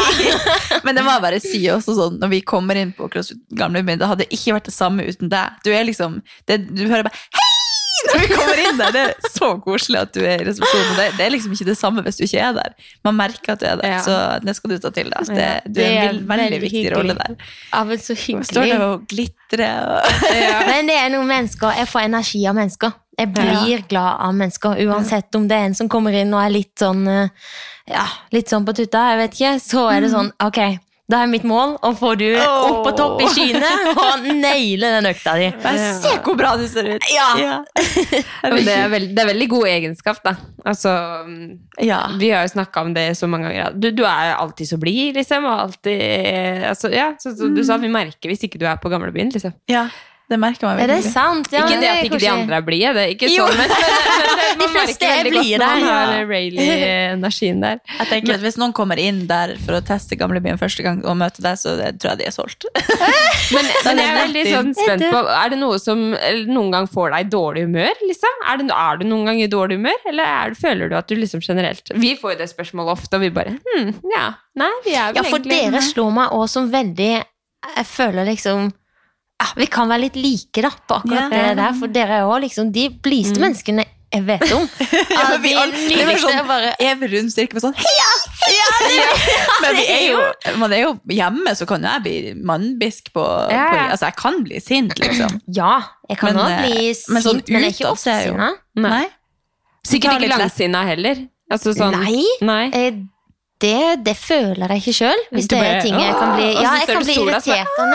da.
Men det må jeg bare si også sånn, når vi kommer inn på CrossFit Gamlebyen, det hadde ikke vært det samme uten deg. Du er liksom det, Du hører bare Hei! Når vi kommer inn der. Det er så koselig at du er i resepsjonen. Det, det er liksom ikke det samme hvis du ikke er der. Man merker at du er der,
Ja.
så det skal du ta til deg.
Ja.
Det, du er en
Det
vil-
er
veldig,
veldig
viktig
hyggelig.
rolle der.
Ja, men så
Står
hyggelig.
der og glitrer og
Men det er noen mennesker, jeg får energi av mennesker. Jeg blir glad av mennesker, uansett om det er en som kommer inn og er litt sånn, eh, ja, litt sånn på tutta, jeg vet ikke, så er
Mm.
det sånn, ok, da er mitt mål å få du opp på topp i skyene og naile den økta di.
Bare se hvor bra du ser ut!
Ja.
Men det, er veldig, det er veldig god egenskap, da. Altså,
Ja.
vi har jo snakka om det så mange ganger. Du, du er alltid så blid, liksom. Og alltid eh, altså, Ja, så, så du sa
Mm.
vi merker hvis ikke du er på gamlebyen, liksom.
Ja, det merker man
Er det
virkelig.
sant? Ja,
ikke det at
er
ikke de
kanskje-
andre er blide, det er ikke
Jo.
sånn, men, men, men det, man
fleste
merker
er
veldig godt
blide,
når man
ja.
har Rayleigh-energien der.
Jeg tenker at Hvis noen kommer inn der for å teste gamlebyen første gang og møter deg, så det, tror jeg de er solgt.
Men, men
Da er det
jeg er veldig
nettopp.
sånn spent på Er det noe som eller, noen gang får deg i dårlig humør? Liksom? Er, det, er du noen gang i dårlig humør, eller er, føler du at du liksom generelt Vi får jo det spørsmålet ofte, og vi bare hm, ja. Nei, vi er vel
Ja, for
egentlig
dere slår meg også som veldig Jeg føler liksom ja, Vi kan være litt like da på akkurat
Ja.
det der, for dere er òg liksom de blideste
Mm.
menneskene jeg vet om. Ja,
men vi alle- det
de
er bare
nydeligste
sånn-
er bare
Evig rundt styrke med sånn Heia! Heia! Men vi er jo, man er jo hjemme, så kan jo jeg bli mannbisk på,
Ja.
på Altså, jeg kan bli sint, liksom.
Ja, jeg kan
Men,
òg bli
eh,
sint,
men
men,
sånn
jeg er ikke
utad så er jeg jo-
oppsinna.
Nei.
Ta
Sikkert
litt
ikke
lett.
langsinna heller. Altså sånn
Nei,
Nei.
eh, det, det føler jeg ikke sjøl. Hvis
Du
det
bare,
er ting jeg kan bli
«Åh!» og
altså,
Ja,
så
jeg
ser du
kan bli
sola, så bare,
irritert av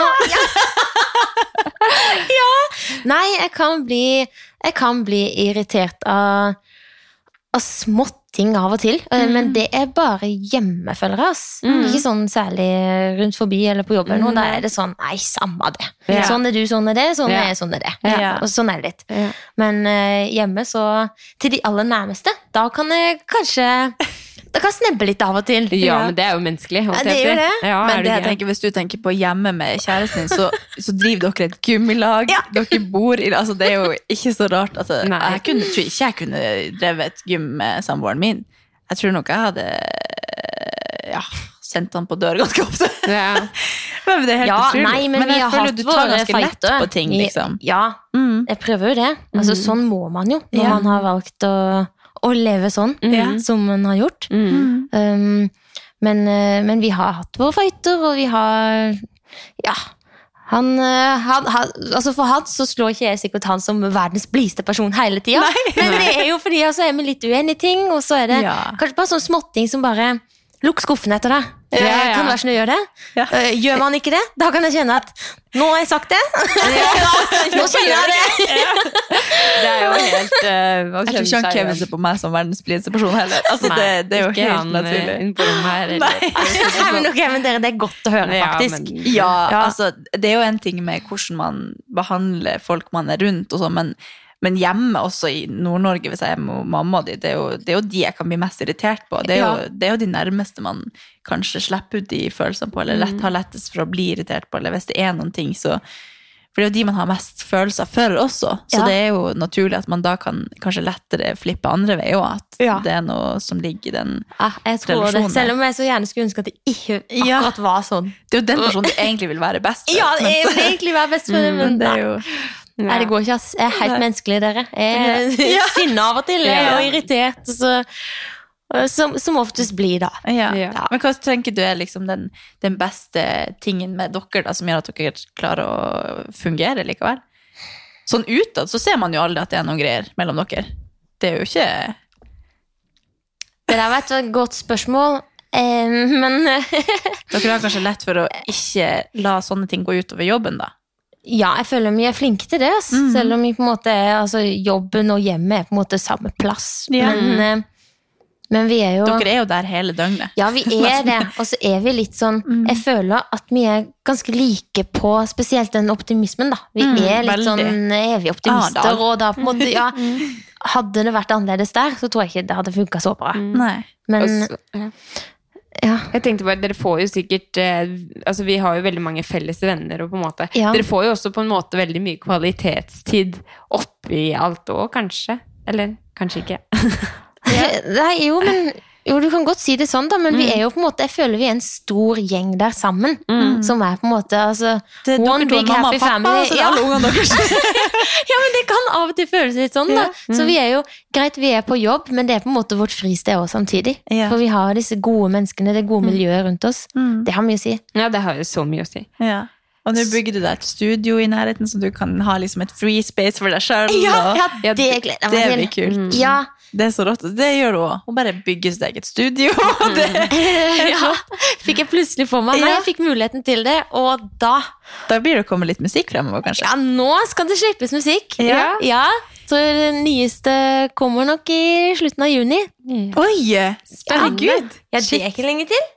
noe. Ja. ja. Nei, jeg kan bli Jeg kan bli irritert av av småting av og til. eh,
Mm.
Men det er bare hjemme, føler jeg. ass. Ikke sånn særlig rundt forbi eller på jobb eller noe. Da er det sånn Nei, samme det.
Ja.
Sånn er du, sånn er det, sånn
Ja.
er jeg, sånn er det.
Mm. Ja.
Og sånn er det litt. Men eh, hjemme, så Til de aller nærmeste. Da kan jeg kanskje Da kan jeg snebbe litt av og til.
Ja, men det er jo menneskelig. holdt
Ja, det
jeg
er jo
på å si.
det.
Ja,
Men
er
det
du
jeg
gæren?
tenker, hvis Ah, du tenker på hjemme med kjæresten din, så, så driver dere et gummilag. Dere bor i altså Det er jo ikke så rart. Altså,
Nei.
jeg kunne, tror ikke jeg kunne drevet et gym med samboeren min. Jeg tror nok jeg hadde ja, sendt han på dør ganske ofte.
Ja.
Men det er helt
Ja,
utrolig.
nei, men, vi
jeg
har
føler
hatt
du tar
våre
ganske
fighter.
lett på ting,
Vi-
liksom.
Ja,
Mm.
jeg prøver jo det. Altså, Sånn må man jo, når
Ja.
man har valgt å, å leve sånn
Ja.
som man har gjort.
Mm.
Mm.
Um, men, eh, men vi har hatt våre fighter, og vi har Ja. Han, eh, han, han, altså for han så slår ikke jeg sikkert han som verdens blideste person hele tida. Men det er jo fordi altså, er vi litt uenige i ting, og så er det
Ja.
kanskje bare sånn småting som bare Lukk skuffen etter deg. Eh,
Ja, ja.
Kan være snill å gjøre det.
Ja.
Eh, Gjør man ikke det, da kan jeg kjenne at Nå har jeg sagt det. Nå kjenner jeg det.
Det er jo helt eh, hva
Jeg
skjønner
tror ikke han
seg
Kevin
igjen.
ser på meg som verdens blideste person heller. Altså, det, det er jo
Nei, ikke
helt
han, eh,
naturlig.
inn på rommet her, eller-
Nei, men ok, men dere, Det er godt å høre,
Ja,
faktisk.
men-
Ja,
Ja.
altså, det er jo en ting med hvordan man behandler folk man er rundt, og sånn, men, men hjemme også i Nord-Norge, hvis jeg er med mamma og de, det er, jo, det er jo de jeg kan bli mest irritert på. Det er,
Ja.
jo, det er jo de nærmeste man kanskje slipper ut de følelsene på, eller
Mm.
lett, har lettest for å bli irritert på, eller hvis det er noen ting, så For det er jo de man har mest følelser for også, så
Ja.
det er jo naturlig at man da kan kanskje lettere flippe andre vei òg, at
Ja.
det er noe som ligger i den
Ja, Ah, jeg tror det.
Relasjoner.
Selv om jeg så gjerne skulle ønske at det ikke
Ja.
akkurat var sånn.
Det er jo den personen du egentlig vil være best for.
Ja,
men
jeg
så-
vil egentlig være best for det, men
men det er jo
Ja.
Mm, Nei, det går ikke, ass. Jeg er
Nei.
helt menneskelig, dere. Jeg er sinna av og til, jeg,
Ja.
og irritert. og Så, og som, som oftest blir, da.
Ja.
Ja.
Men hva tenker du er liksom den, den beste tingen med dere da, som gjør at dere klarer å fungere likevel? Sånn utad så ser man jo aldri at det er noen greier mellom dere. Det er jo ikke
Det der var et godt spørsmål, eh, men
Dere har kanskje lett for å ikke la sånne ting gå utover jobben, da.
Ja, jeg føler vi er flinke til det, ass.
Mhm.
selv om vi på en måte er, altså, jobben og hjemmet er på en måte samme plass.
Ja.
Men, eh, men vi er jo
Dere er jo der hele døgnet.
Ja, vi er det. Og så er vi litt sånn
Mm.
Jeg føler at vi er ganske like på spesielt den optimismen, da. Vi
Mm,
er litt
veldig. Mm.
sånn evige optimister,
Arendal.
og da på en måte Ja. Hadde det vært annerledes der, så tror jeg ikke det hadde funka så bra.
Mm.
Nei.
Og
Men
så- ja.
ja.
Jeg tenkte bare, dere får jo sikkert eh, Altså, vi har jo veldig mange felles venner, og på en måte
Ja.
Dere får jo også på en måte veldig mye kvalitetstid oppi alt òg, kanskje? Eller kanskje ikke.
Nei, jo, men jo, du kan godt si det sånn, da, men
Mm.
vi er jo på en måte, jeg føler vi er en stor gjeng der sammen. Som er på en måte
Mm.
altså,
Det er
One
dere to,
big
mamma
happy
og pappa, altså,
family.
og så er det
Ja.
alle ungene deres.
Ja, men det kan av og til føles litt sånn, da. Så vi er jo, greit, vi er på jobb, men det er på en måte vårt fristed også samtidig.
Ja.
For vi har disse gode menneskene, det gode miljøet rundt oss.
Mm.
Det har mye å si.
Ja, det har jo så mye å si.
Ja. Og nå bygger du deg et studio i nærheten, så du kan ha liksom et free space for deg sjøl.
Ja,
det
det-
det
gleder jeg mm.
blir
meg til.
kult.
Ja,
Det er så rått. Det gjør du òg. Hun bare bygger sitt eget studio. og Det,
ja, fikk jeg plutselig for meg. Nei,
Ja.
jeg fikk muligheten til det, og da
da blir det å komme litt musikk fremover, kanskje.
Ja, nå skal det slippes musikk.
Ja.
ja. Så den nyeste kommer nok i slutten av juni.
Oi! Herregud!
Ja, det er ikke lenge til.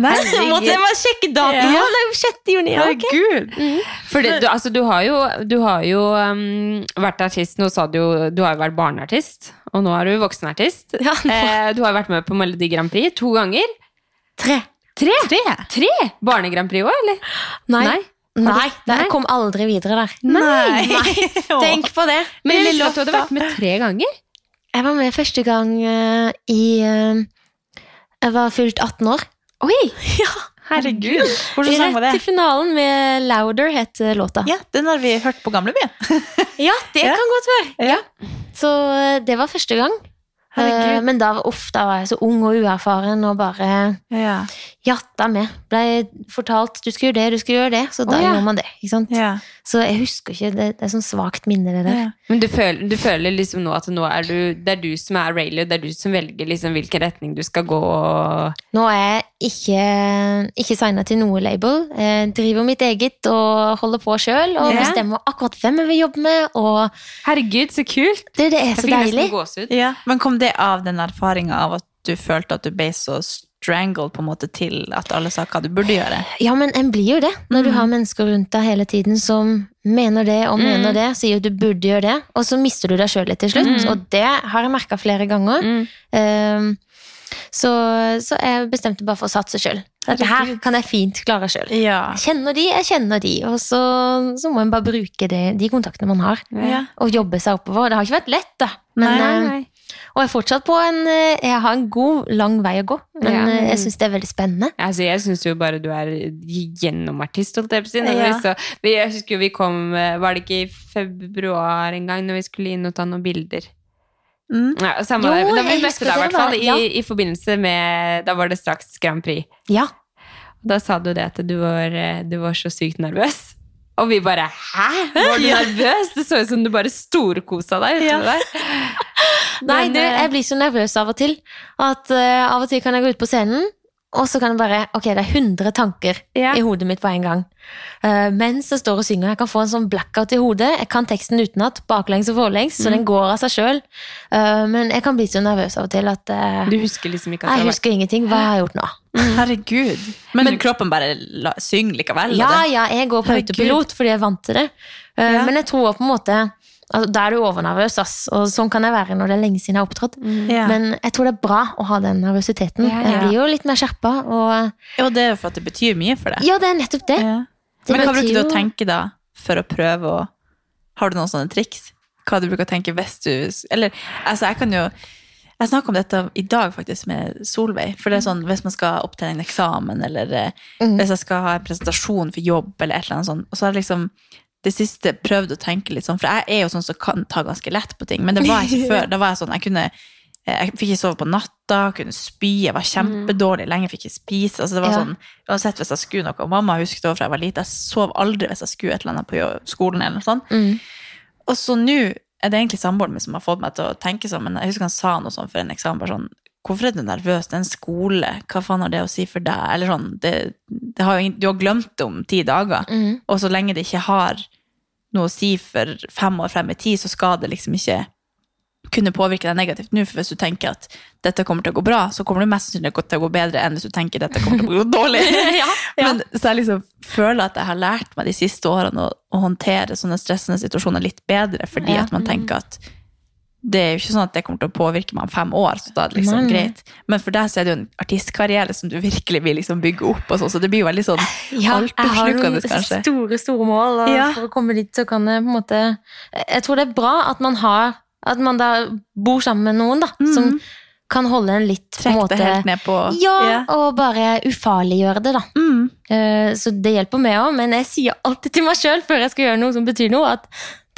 Måtte jeg
Herregud.
bare sjekke datoen?
Ja.
Ja, det er jo 6. juni. Ja, ok.
Herregud.
For det- du, altså, du har jo, du har jo um, vært artist, nå sa du jo Du har jo vært barneartist, og nå er du voksenartist.
Ja, nå-
Eh, du har vært med på Melodi Grand Prix to ganger.
Tre.
Tre!
Tre?
Tre! Barne Grand Prix òg, eller?
Nei.
Nei.
Nei,
Nei.
jeg kom aldri videre der.
Nei!
Tenk på det.
Men jeg
Det
husker at
er
du
flott,
hadde vært med tre ganger.
Jeg var med første gang eh, i eh, Jeg var fylt 18 år.
Oi!
Ja,
Herregud. Hvordan sang var
Rett til
det?
finalen med 'Louder' het eh, låta.
Ja, Den har vi hørt på gamlebyen.
Ja, det
Ja.
kan godt være.
Ja.
Så eh, det var første gang.
Herregud.
Eh, Men da, var- uff, da var jeg så ung og uerfaren og bare
Ja.
jatta med. Blei fortalt 'du skal gjøre det, du skal gjøre det', så da
Å, ja.
gjør man det. ikke sant?
Ja.
Så jeg husker ikke, det, det er sånn svakt minne, det der.
Ja.
Men du føler, du føler liksom nå at nå er du, det er du som er Rayleigh, det er du som velger liksom hvilken retning du skal gå. og-
Nå er jeg ikke, ikke signa til noe label. Jeg driver mitt eget og holder på sjøl. Og
Ja.
bestemmer akkurat hvem jeg vil jobbe med. Og
Herregud, så kult!
du, det er
Jeg
så
fikk nesten
deilig.
gåsehud.
Ja. Men kom det av den erfaringa av at du følte at du ble så strangled på en måte til at alle sa hva du burde gjøre?
Ja, men en blir jo det. Når
Mm.
du har mennesker rundt deg hele tiden som mener det og mener det, sier at du burde gjøre det, og så mister du deg sjøl litt til slutt.
Mm.
Og det har jeg merka flere ganger.
Mm.
Ehm, så, så jeg bestemte bare for å satse sjøl. Dette her kan jeg fint klare sjøl.
Ja.
Jeg kjenner de, jeg kjenner de. Og så, så må en bare bruke det, de kontaktene man har.
ja.
og jobbe seg oppover. Det har ikke vært lett, da. Men,
Nei,
eh,
nei.
Og jeg er fortsatt på en eh, Jeg har en god, lang vei å gå, men
Ja.
eh, jeg syns det er veldig spennende.
Altså, jeg syns jo bare du er gjennomartist, holdt jeg på å si. Når
Ja.
vi så, vi, jeg husker jo vi kom eh, Var det ikke i februar en gang når vi skulle inn og ta noen bilder?
Mm.
Ja, samme
Jo,
der. Da vi
jeg
møtte
husker
deg, i
det
hvert fall.
var-
I,
ja.
I forbindelse med Da var det straks Grand Prix.
Ja.
Da sa du det at du var, eh, du var så sykt nervøs. Og vi bare Hæ? Var du nervøs? Det så ut som du bare storkosa deg.
Ja.
ute der.
Nei,
Men,
du,
eh,
jeg blir så nervøs av og til. At eh, av og til kan jeg gå ut på scenen, og så kan jeg bare Ok, det er 100 tanker
Ja.
i hodet mitt på en gang. Eh, mens jeg står og synger. Jeg kan få en sånn blackout i hodet. Jeg kan teksten utenat, baklengs og forlengs, så
Mm.
den går av seg sjøl. men jeg kan bli så nervøs av og til at eh,
Du husker liksom ikke at
jeg
det var
husker ingenting. Hva har jeg gjort nå?
Herregud. Men, kroppen bare la, synger likevel? og
Ja,
det-
ja, jeg går på
Herregud.
autopilot fordi jeg er vant til det. Eh,
Ja.
Men jeg tror på en måte altså, Da er du overnervøs, ass. Og sånn kan jeg være når det er lenge siden jeg har opptrådt.
Ja.
Men jeg tror det er bra å ha den nervøsiteten.
Ja,
ja.
Jeg blir jo litt mer skjerpa. Og
Og det er jo for at det betyr mye for deg.
ja, det er nettopp det.
Ja.
Det
Men hva
betyr
bruker du å
jo-
tenke da, for å prøve å Har du noen sånne triks? Hva du bruker å tenke hvis du Eller altså, jeg kan jo Jeg snakka om dette i dag faktisk med Solveig. For det er sånn hvis man skal opp til en eksamen, eller eh,
Mm.
hvis jeg skal ha en presentasjon for jobb, eller et eller annet sånt. Og så har jeg liksom det siste prøvd å tenke litt sånn, for jeg er jo sånn som kan ta ganske lett på ting, men det var jeg ikke før. Da var jeg sånn, jeg kunne jeg fikk ikke sove på natta, kunne spy, jeg var kjempedårlig lenge, fikk ikke spise. Altså det var
Mm. Ja.
sånn, Uansett hvis jeg skulle noe, og mamma husket det også fra jeg var liten, jeg sov aldri hvis jeg skulle et eller annet på jo- skolen. eller noe sånt.
Mm.
Og så nå er det egentlig samboeren min som har fått meg til å tenke sånn, men jeg husker han sa noe sånn for en eksamen, bare sånn, hvorfor er du nervøs? Det er en skole, hva faen har det å si for deg? Eller sånn, det, det har jo ingen, du har glemt det om ti dager,
Mm.
og så lenge det ikke har noe å si for fem år frem i tid, så skal det liksom ikke kunne påvirke deg negativt nå, for hvis du tenker at dette kommer til å gå bra, så kommer du mest sannsynlig til å gå bedre enn hvis du tenker dette kommer til å gå dårlig. Men, så jeg liksom føler at jeg har lært meg de siste årene å, å håndtere sånne stressende situasjoner litt bedre, fordi
Ja. Mm.
at man tenker at det er jo ikke sånn at det kommer til å påvirke meg om fem år, så da er det liksom
Nei, nei.
greit. Men for deg så er det jo en artistkarriere som du virkelig vil liksom bygge opp, og sånn, så det blir jo veldig sånn
Ja, jeg har noen
altoppslukende, kanskje.
store, store mål, og
Ja.
for å komme dit så kan jeg på en måte Jeg tror det er bra at man har At man da bor sammen med noen, da, som kan holde en litt på en
Trekk
måte
Mm. det helt ned på
Ja, og bare ufarliggjøre det, da.
Mm.
Eh, Så det hjelper meg òg, men jeg sier alltid til meg sjøl før jeg skal gjøre noe som betyr noe, at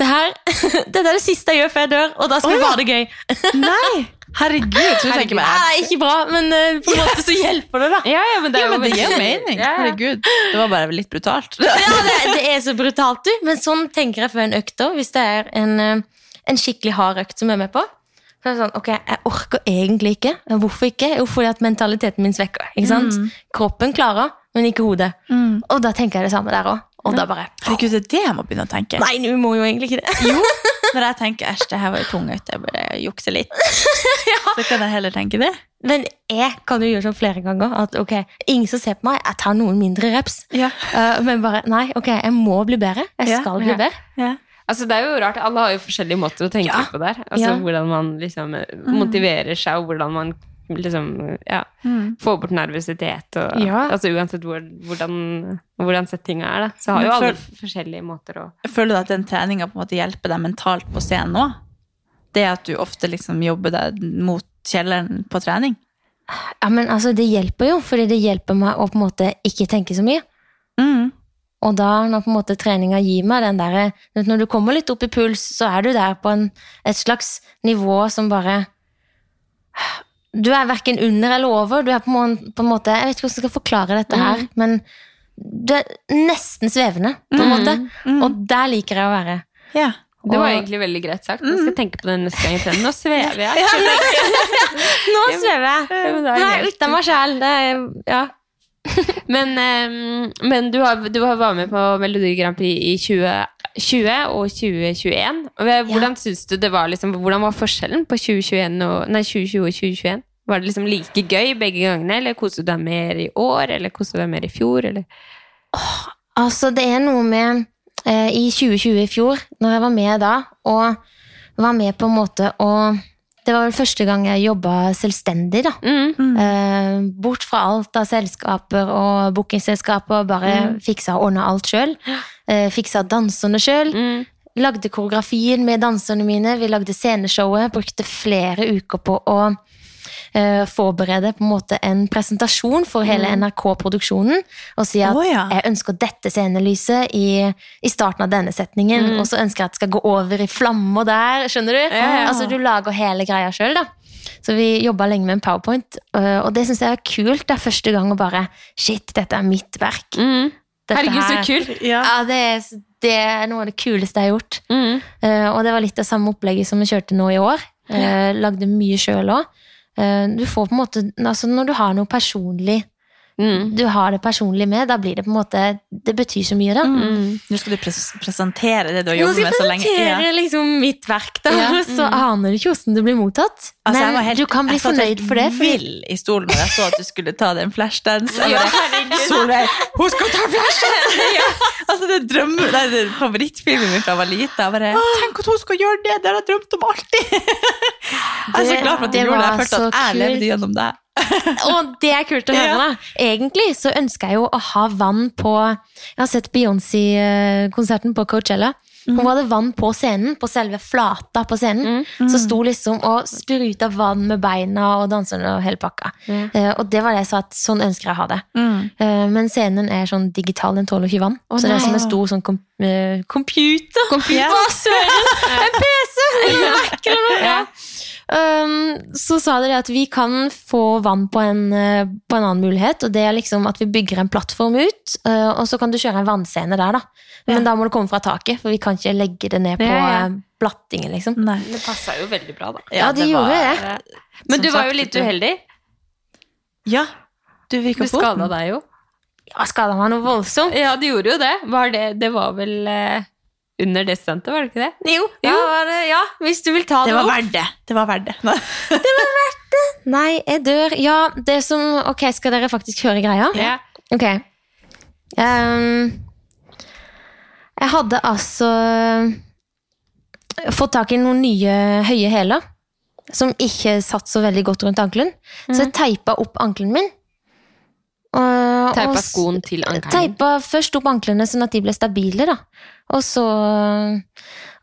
det her Dette er det siste jeg gjør før jeg dør, og da skal
Å,
vi
ja.
ha det gøy.
Nei! Herregud, så du tenker
Nei,
bare
det er ikke bra, men eh, på en måte så hjelper det, da.
Ja, ja, men det, er
Ja, men det
veldig-
gir jo mening.
Ja, ja.
Herregud. Det var bare litt brutalt.
Ja, det, det er så brutalt, du. Men sånn tenker jeg før en økt òg, hvis det er en, eh, en skikkelig hard økt som jeg er med på. Så er det sånn, ok, Jeg orker egentlig ikke. Men Hvorfor ikke? Jo, fordi at mentaliteten min svekker. ikke sant? Kroppen klarer, men ikke hodet.
Mm.
Og da tenker jeg det samme der òg. Og da bare
Herregud, det er det jeg må begynne å tenke.
Nei, du må jo egentlig ikke det.
Jo, når jeg tenker æsj, det her var jo tungt, jeg burde jukse litt. Så kan jeg heller tenke det.
Men jeg kan jo gjøre sånn flere ganger at ok, ingen som ser på meg, jeg tar noen mindre reps. Eh, men bare nei, ok, jeg må bli bedre. Jeg
Ja,
skal bli
ja.
bedre.
Ja.
Altså, det er jo rart. Alle har jo forskjellige måter å tenke
Ja.
på der. Altså
Ja.
hvordan man liksom eh, motiverer seg, og hvordan man liksom ja,
Mm.
får bort nervøsitet og
Ja.
Altså uansett hvor, hvordan, hvordan settinga er, da, så har
Men
jo alle
føl-
f- forskjellige måter å
Føler du at den treninga på en måte hjelper deg mentalt på scenen nå? Det at du ofte liksom jobber deg mot kjelleren på trening?
Ja, men altså, det hjelper jo, fordi det hjelper meg å på en måte ikke tenke så mye.
Mm.
Og da, når på en måte treninga gir meg den derre du vet, Når du kommer litt opp i puls, så er du der på en, et slags nivå som bare Du er verken under eller over. Du er på en, måte, på en måte Jeg vet ikke hvordan jeg skal forklare dette
Mm.
her, men du er nesten svevende, på en måte.
Mm.
Og der liker jeg å være.
Ja.
Det var
Og-
egentlig veldig greit sagt. Nå skal jeg tenke på det neste gang jeg trener. Nå svever jeg.
Nå svever
Ja,
jeg!
men det er
Nei,
helt-
uten meg sjæl. Det er Ja.
Men, ehm, men du, har, du har vært med på Melodi Grand Prix i 2020 og 2021. Og hva- hvordan synes du det var liksom, Hvordan var forskjellen på 2021 og, nei, 2020 og 2021? Var det liksom like gøy begge gangene, eller koste du deg mer i år, eller koste du deg mer i fjor? Eller?
Altså, det er noe med eh, I 2020 i fjor, når jeg var med da, og var med på en måte å Det var vel første gang jeg jobba selvstendig, da.
Mm.
Eh, bort fra alt av selskaper og Mm. bookingselskaper, bare fiksa og ordna alt sjøl. Eh, fiksa danserne sjøl.
Mm.
lagde koreografien med danserne mine, vi lagde sceneshowet, brukte flere uker på å eh, forberede på en måte en presentasjon for hele
Mm.
NRK-produksjonen og si at
Å, ja.
jeg ønsker dette scenelyset i, i starten av denne setningen, og så ønsker jeg at det skal gå over i flammer der, skjønner du?
Mm. Ja.
Altså du lager hele greia sjøl, da. Så vi jobba lenge med en powerpoint, eh, og det syns jeg er kult. Det er første gang å bare Shit, dette er mitt verk.
Mm.
Dette
Herregud, så
her-
kult!
Ja.
ja, det, er- det er noe av det kuleste jeg har gjort.
Mm.
Eh, og det var litt av samme opplegget som vi kjørte nå i år. Eh, lagde mye sjøl òg. du får på en måte, altså Når du har noe personlig
Mm.
Du har det personlig med, da blir det på en måte Det betyr så mye, da.
Mm.
Nå skal du pres presentere det du har jobbet
Nå skal
med
jeg
så lenge.
presentere liksom mitt verk, da,
Ja.
og så aner du ikke hvordan det blir mottatt.
Altså, jeg var
Men
helt-
du kan bli
jeg satt helt
fornøyd for det. Fordi,
vill i stolen når jeg så at du skulle ta den flashdance. Jeg
Ja,
bare, Solveig, hun skal ta flashdance!
Ja.
Altså, det er drømmen, det er den favorittfilmen min fra jeg var liten. Jeg bare, Tenk at hun skal gjøre det! Det har jeg drømt om alltid! Jeg er så
Det-
glad for at du
det
gjorde det. Jeg
var
følte at
så
jeg levde
kult.
gjennom deg.
Og det er kult å høre,
Ja.
da. Egentlig så ønsker jeg jo å ha vann på Jeg har sett Beyoncé-konserten på Coachella. Hun hadde vann på scenen, på selve flata på scenen. Så sto liksom og spruta vann med beina og danserne og hele pakka. Eh, og det var det jeg sa at sånn ønsker jeg å ha det. Eh, men scenen er sånn digital, den tåler ikke vann. så det
nei.
er som en stor sånn kom, eh, computer.
Ja.
Å, søren! En PC! Det er ikke noe. Ja. Um, så sa dere at vi kan få vann på en, eh, på en annen mulighet, og det er liksom at vi bygger en plattform ut, eh, og så kan du kjøre en vannscene der, da. Men
Ja.
da må det komme fra taket, for vi kan ikke legge det ned på
Ja, ja.
eh, blattingen, liksom.
Nei.
Det passa jo veldig bra, da.
Ja, de gjorde det.
Men
Som
du var
sagt,
jo litt
du-
uheldig.
Ja. Du
Du
virker på.
skada deg jo.
Ja, skada meg noe voldsomt.
Ja, du gjorde jo det. Var det, det var vel eh, under det stuntet, var det ikke det?
Jo, da var det, ja, hvis du vil ta
Det var
det opp.
verdt det. Det var verdt det. Nei.
Nei, jeg dør. Ja, det som Ok, skal dere faktisk høre greia?
Ja.
Ok. Ehm, jeg hadde altså fått tak i noen nye høye hæler som ikke satt så veldig godt rundt ankelen. Så
Mhm.
jeg teipa opp ankelen min. og- og
Teipa
s- eh,
skoen til ankelen.
Teipa først opp anklene sånn at de ble stabile, da. Og så,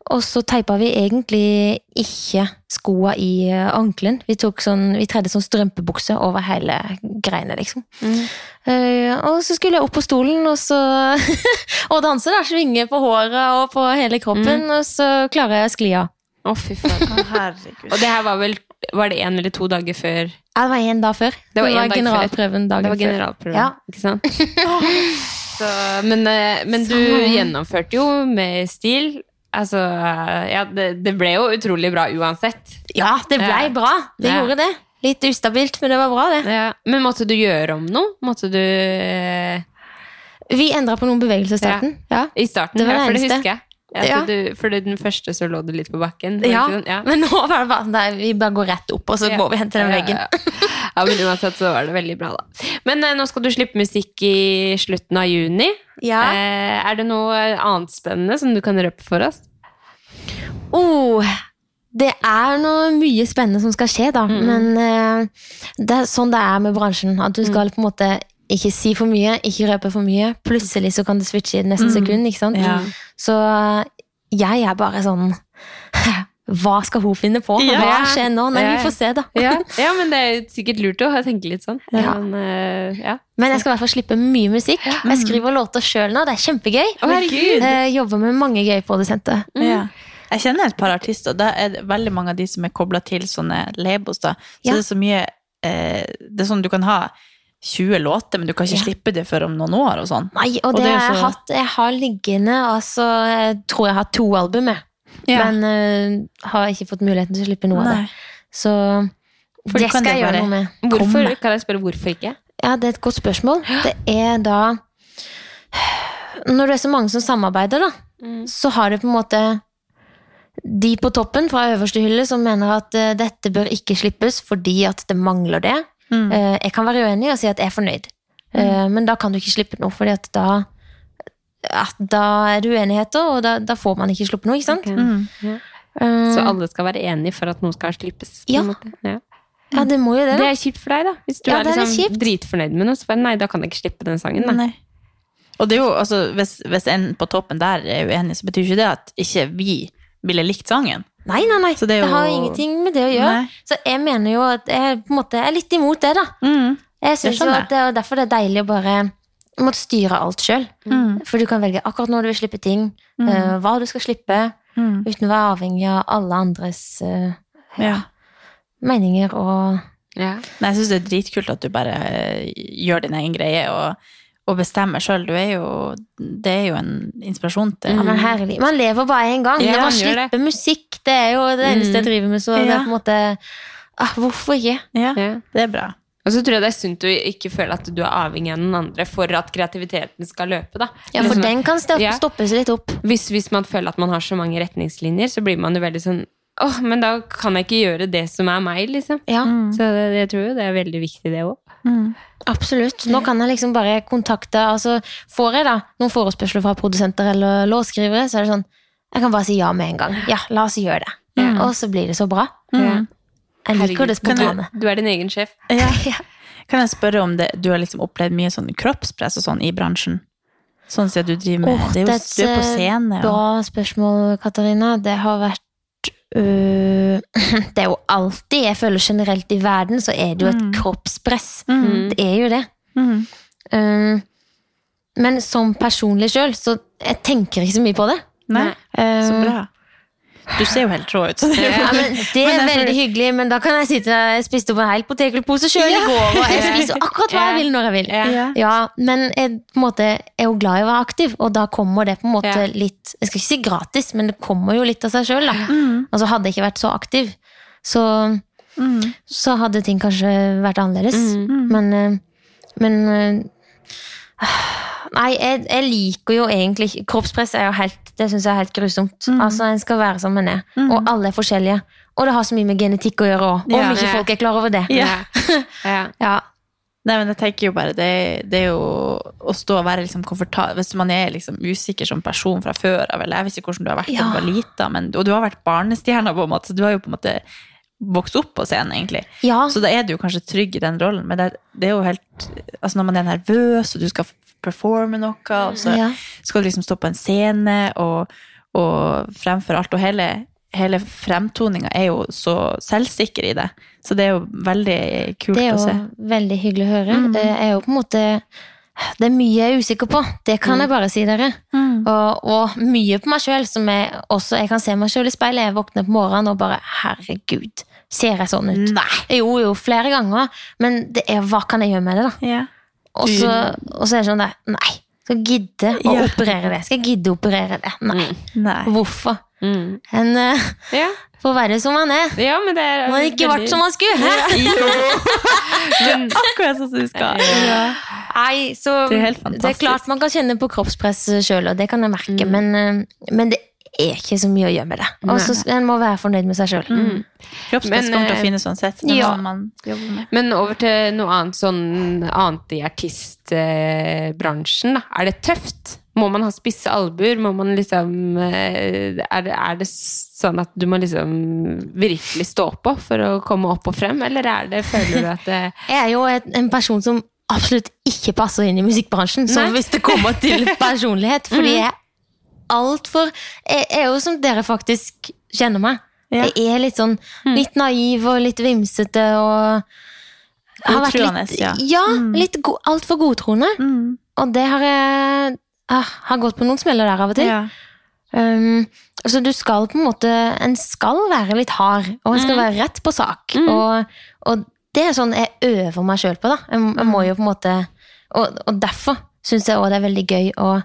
og så teipa vi egentlig ikke skoa i eh, ankelen. Vi, tok sånn, vi tredde sånn strømpebukse over hele greiene, liksom.
Mm.
Eh, og så skulle jeg opp på stolen og, så og danse, da. Svinge på håret og på hele kroppen,
Mm.
og så klarer jeg å skli av.
Å, fy faen.
Å, herregud.
Og det her var vel Var det én eller to dager før Det
Ja, Det var én dag før.
Det var en dag før.
generalprøven dagen
var
før.
generalprøven,
Ja.
ikke sant? Så, men, eh, men du
Sånn.
gjennomførte jo med stil. Altså eh, Ja, det, det ble jo utrolig bra uansett.
Ja, det blei
Ja.
bra. Det
Ja.
gjorde det. Litt ustabilt, men det var bra, det.
Men måtte du gjøre om noe? Måtte du eh,
Vi endra på noen bevegelser i starten. Ja.
I starten,
Det var
ja,
det
for det
eneste.
husker jeg. Ja,
Ja.
for Du, for den første så lå du litt på bakken. var det
Ja,
ikke sånn? ja.
men nå var det bare sånn der, vi bare går rett opp, og så
Ja.
går vi hen til den
Ja,
veggen.
Ja, ja. ja, men uansett så var det veldig bra, da. Men eh, nå skal du slippe musikk i slutten av juni.
Ja.
Eh, er det noe annet spennende som du kan røpe for oss?
Oh, det er noe mye spennende som skal skje, da. Men eh, det er sånn det er med bransjen. At du skal på en måte ikke si for mye, ikke røpe for mye. Plutselig så kan det switche i neste sekund, ikke sant?
Ja.
Så eh, jeg er bare sånn Hva skal hun finne på?
Ja.
Hva skjer nå? Nei,
Ja.
vi får se, da.
Ja, ja men det er sikkert lurt å tenke litt sånn.
Ja.
Men, eh, ja.
Men jeg skal i hvert fall slippe mye musikk. Jeg skriver låter sjøl nå, det er kjempegøy.
Å, herregud!
Eh, jobber med mange gøye produsenter.
Ja. Jeg kjenner et par artister, og da er det veldig mange av de som er kobla til sånne labels. Da. Så
Ja.
det er så mye eh, Det er sånn du kan ha 20 låter, men du kan ikke
Ja.
slippe det før om noen år og sånn.
Nei, og,
Og
det,
det er
har jeg
så-
hatt. Jeg har liggende, altså Jeg tror jeg har to album, jeg. Men øh, har ikke fått muligheten til å slippe noe av
Nei.
det. Så
For
det
du kan
skal jeg
det
gjøre
bare
noe med.
Hvorfor,
Komme.
kan jeg spørre hvorfor ikke?
Ja, det er et godt spørsmål. Det er da Når det er så mange som samarbeider, da, så har det på en måte de på toppen fra øverste hylle som mener at eh, dette bør ikke slippes fordi at det mangler det.
Mm.
Eh, jeg kan være uenig og si at jeg er fornøyd, Eh, men da kan du ikke slippe noe, fordi at da, at da er det uenigheter, og da, da får man ikke sluppet noe, ikke sant?
Ok.
Mm.
Eh,
Så alle skal være enige for at noe skal slippes? på
Ja.
en måte. ja.
ja, det må jo det,
Det
da.
er kjipt for deg, da. Hvis du
Ja,
er,
det er litt
liksom
kjipt.
dritfornøyd med noe, så bare nei, da kan jeg ikke slippe den sangen. Da.
Nei. Og det er jo, altså, hvis, hvis en på toppen der er uenig, så betyr ikke det at ikke vi ville likt sangen.
Nei, nei, nei.
Så
det,
det er jo-
har ingenting med det å gjøre.
Nei.
Så jeg mener jo at jeg på en måte er litt imot det, da.
Mm.
Jeg
Det
synes jo
skjønner
at det er derfor det er deilig å bare måtte styre alt sjøl. For du kan velge akkurat når du vil slippe ting,
Mm.
eh, hva du skal slippe, uten å være avhengig av alle andres eh,
Ja.
meninger og
Ja.
Nei, jeg syns det er dritkult at du bare eh, gjør din egen greie og, og bestemmer sjøl. Du er jo Det er jo en inspirasjon til
Mm.
Ja, men herlig. Man lever bare én gang.
Ja,
Når man
man gjør
slipper musikk, det er jo det eneste jeg driver med, så det
Mm.
er
Ja.
på en måte ah, Hvorfor ikke?
Ja,
Ja.
det er bra.
Og så tror jeg det er sunt å ikke føle at du er avhengig av den andre for at kreativiteten skal løpe. da.
Ja, for
Liksom at-
den kan stopp-
Ja.
stoppes litt opp.
hvis, hvis man føler at man har så mange retningslinjer, så blir man jo veldig sånn Åh, men da kan jeg ikke gjøre det som er meg, liksom.
Ja.
Så det, jeg tror jo det er veldig viktig, det òg.
Absolutt. Nå kan jeg liksom bare kontakte altså Får jeg da noen forespørsler fra produsenter eller låtskrivere, så er det sånn Jeg kan bare si ja med en gang. Ja, la oss gjøre det.
Ja.
Og så blir det så bra. Mm. Jeg liker det
kan
spontane.
du, du er din egen sjef.
Ja.
Ja.
Kan jeg spørre om det, du har liksom opplevd mye sånn kroppspress og sånn i bransjen? Sånn siden du driver med
Åh,
det er jo,
det
Du er på
er
scene. Og,
Bra spørsmål, Katarina. Det har vært øh, Det er jo alltid Jeg føler generelt i verden så er det jo et
Mm.
kroppspress.
Mm.
Det er jo det.
Mm.
Um, men som personlig sjøl, så jeg tenker ikke så mye på det.
Nei, så
Um,
bra. Du ser jo helt rå ut. Så det
Eh,
er jo
Ja, men det er
Men derfor-
veldig hyggelig, men da kan jeg sitte Jeg spiste opp en hel potekelpose sjøl i går, og jeg spiser akkurat hva jeg vil når jeg vil.
Ja.
Ja, men jeg på en måte, er jo glad i å være aktiv, og da kommer det på en måte
Ja.
litt Jeg skal ikke si gratis, men det kommer jo litt av seg sjøl, da. Altså, hadde jeg ikke vært så aktiv, så, så hadde ting kanskje vært annerledes.
Mm.
Men, eh, men eh, Nei, jeg, jeg liker jo egentlig ikke- Kroppspress er jo helt, det synes jeg er helt grusomt.
Mm.
Altså, En skal være som en er. Og alle er forskjellige. Og det har så mye med genetikk å gjøre òg. Om
Ja.
ikke
Ja.
folk er klar over det.
Ja.
ja.
Ja.
Nei, men jeg tenker jo bare det, det er jo å stå og være liksom komfortabel Hvis man er liksom usikker som person fra før av, eller jeg vet ikke hvordan du har vært da du
Ja.
var lita, men og du har vært barnestjerna, på en måte, så du har jo på en måte vokst opp på scenen, egentlig.
Ja.
Så da er du jo kanskje trygg i den rollen, men det, det er jo helt Altså når man er nervøs, og du skal performe noe, og så
Ja.
skal du liksom stå på en scene og, og fremfor alt, og hele Hele fremtoninga er jo så selvsikker i det, så det er jo veldig kult
Det er
å se. Mm.
jo veldig hyggelig å høre. Det er jo på en måte Det er mye jeg er usikker på. Det kan
Mm.
jeg bare si dere. Og, og mye på meg sjøl som jeg også Jeg kan se meg sjøl i speilet. Jeg våkner på morgenen og bare Herregud, ser jeg sånn ut?
Nei.
Jo, jo, flere ganger. Men det er, hva kan jeg gjøre med det, da?
Ja.
Og så, og så er det sånn der Nei. Skal jeg gidde å
Ja.
operere det? Skal jeg gidde å operere det? Nei.
Nei.
Hvorfor?
Mm.
En eh,
Ja.
får være som man er.
ja, men det er
Man har ikke vært som man skulle. Hæ?
men,
Akkurat sånn som du skal.
Nei, så
Det er helt fantastisk. Mm.
det er klart man kan kjenne på kroppspress sjøl, og det kan jeg merke, men, eh, men det er ikke så mye å gjøre med det. Og så skal- en må være fornøyd med seg sjøl.
Mm. Kroppspress
Men,
kommer til å
eh,
finnes uansett. Det er
ja.
noe man jobber med.
men over til noe annet sånn annet i artistbransjen, da. Er det tøft? Må man ha spisse albuer? Må man liksom eh, er, det- er det sånn at du må liksom virkelig stå på for å komme opp og frem, eller er det, føler du at det
Jeg er jo et, en person som absolutt ikke passer inn i musikkbransjen, så
Nei.
hvis det kommer til personlighet, fordi
Mhm.
jeg er altfor Jeg er jo som dere faktisk kjenner meg.
Ja. Mhm.
Jeg er litt sånn litt naiv og litt vimsete og har vært
Godtroende,
litt,
ja. Mhm.
ja, litt go, altfor godtroende. Og det har jeg ah, har gått på noen smeller der av og til.
Ja.
Um, så du skal på en måte En skal være litt hard, og en skal
Mm.
være rett på sak. Og, og det er sånn jeg øver meg sjøl på, da. Jeg, jeg må jo på en måte Og, og derfor syns jeg òg det er veldig gøy å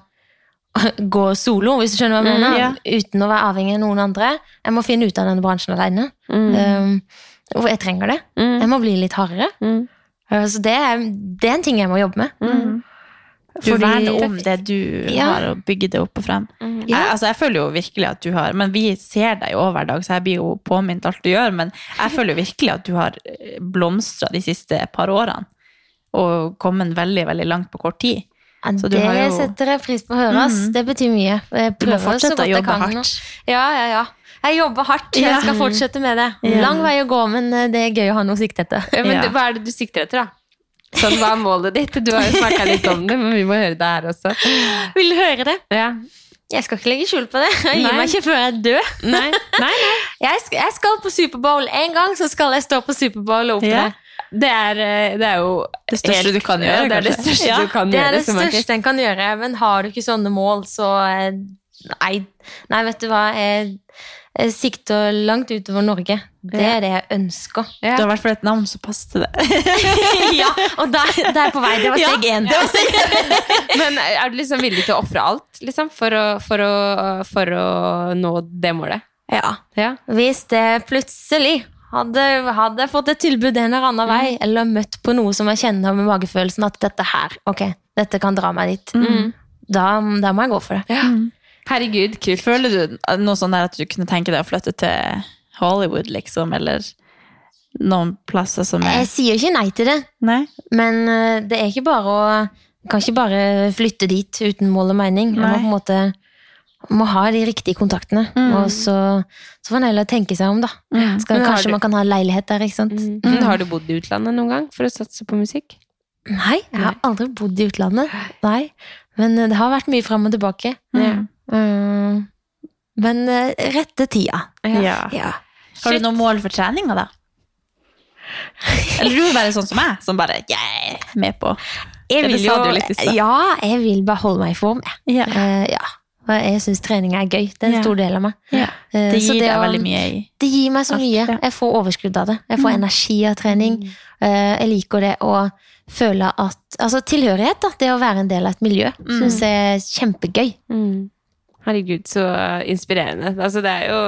å gå solo, hvis du skjønner hva jeg mener.
Mm, ja.
Uten å være avhengig av noen andre. Jeg må finne ut av denne bransjen aleine.
Mm.
Um, og jeg trenger det. Jeg må bli litt hardere.
Mm.
Uh, Så det er, det er en ting jeg må jobbe
mm,
med.
Du
Mm. Fordi-
verner om det du
Ja.
har, og bygger det opp og frem.
mm.
Jeg, altså, jeg føler jo virkelig at du har Men vi ser deg jo også hver dag, så jeg blir jo påminnet alt du gjør. Men jeg føler jo virkelig at du har blomstra de siste par årene. Og kommet veldig, veldig langt på kort tid.
Ja,
Så du
det
har jo- Mm.
setter jeg pris på å høre. ass. Det betyr mye. Jeg
Du må
prøver så
fortsette
godt
å
jeg
jobbe
kan. nå.
hardt.
Ja, ja, ja. Jeg jobber hardt.
Ja.
Jeg skal fortsette med det.
Ja.
Lang vei å gå, men eh, det er gøy å ha noe å sikte etter.
Ja, men
Ja.
det- Hva er det du sikter etter, da? Sånn, hva er målet ditt? Du har jo snakka litt om det, men vi må høre det her også.
Vil du høre det?
Ja.
Jeg skal ikke legge skjul på det. Jeg
Nei.
gir meg ikke før jeg dør.
Nei, nei, nei.
Jeg skal, jeg skal på Superbowl en gang, så skal jeg stå på Superbowl og opptre.
Ja.
Det er, eh, det er jo
Det største du kan gjøre,
Ja, Det er det
kanskje.
største
Ja,
du kan
det er
gjøre
det
som
største
artist.
en kan gjøre, men har du ikke sånne mål, så eh, nei, nei vet du hva, jeg, jeg sikter langt utover Norge. Det
Ja.
er det jeg ønsker.
Ja.
Du har i hvert fall et navn som passer til det.
ja, og der, der på vei, det var steg én.
Men er du liksom villig til å ofre alt liksom, for, å, for, å, for å nå det målet?
Ja.
Ja.
Hvis det plutselig hadde, hadde jeg fått et tilbud en eller annen vei, eller møtt på noe som jeg kjenner med magefølelsen at dette her, ok, dette kan dra meg dit, da, da må jeg gå for det.
Herregud, kult.
Føler du noe sånn der at du kunne tenke deg å flytte til Hollywood, liksom, eller noen plasser som er
Jeg sier ikke nei til det,
Nei?
men eh, det er ikke bare å jeg kan ikke bare flytte dit uten mål og mening. Jeg må
Nei.
på en måte må ha de riktige kontaktene. Og så, så får en heller tenke seg om, da.
Mm,
Skal,
Men har
kanskje
du-
man kan ha leilighet der, ikke sant.
Mm. Men Har du bodd i utlandet noen gang for å satse på musikk?
Nei, jeg har
Nei.
aldri bodd i utlandet. Nei. Men eh, det har vært mye fram og tilbake.
Mm.
Mm. Men eh, rette tida.
Ja.
Ja.
Har du noen mål for treninga, da? Eller du er bare sånn som meg, som bare yeah, med på.
Jeg
Ja, det
vil
sa
jo-
du jo litt i stad.
Ja, jeg vil bare holde meg i form. jeg. Eh, ja. Og jeg syns trening er gøy. Det er en
Ja.
stor del av meg.
Ja.
Eh,
Det
så
gir deg
å-
veldig mye i
Det gir meg så
Alt,
mye.
ja. Mm.
Jeg får overskudd av det. Jeg får energi av trening. Eh, Jeg liker det å føle at Altså tilhørighet, da. Det å være en del av et miljø.
Mm.
Syns jeg er kjempegøy.
Mm. Herregud, så inspirerende. Altså, det er jo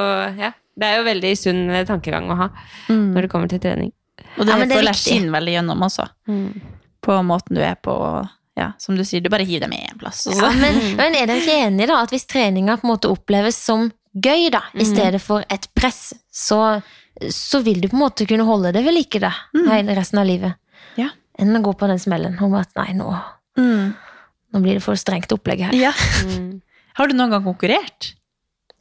ja, det er jo veldig sunn tankegang å ha når det kommer til trening. Mm.
Og det,
Mm. Ja, men det er
føler jeg
viktig.
skinner veldig gjennom også, på måten du er på. og Ja, som du sier, du bare hiver deg med i en plass. Og sånn.
Ja,
så.
men, men er dere ikke enige da, at hvis treninga på en måte oppleves som gøy, da,
Mm.
i stedet for et press, så, så vil du på en måte kunne holde det ved like da, hele resten av livet?
Mm. Ja.
Enn å gå på den smellen om at nei, nå,
Mm.
nå blir det for strengt opplegg her.
Ja.
Mm.
Har du noen gang konkurrert?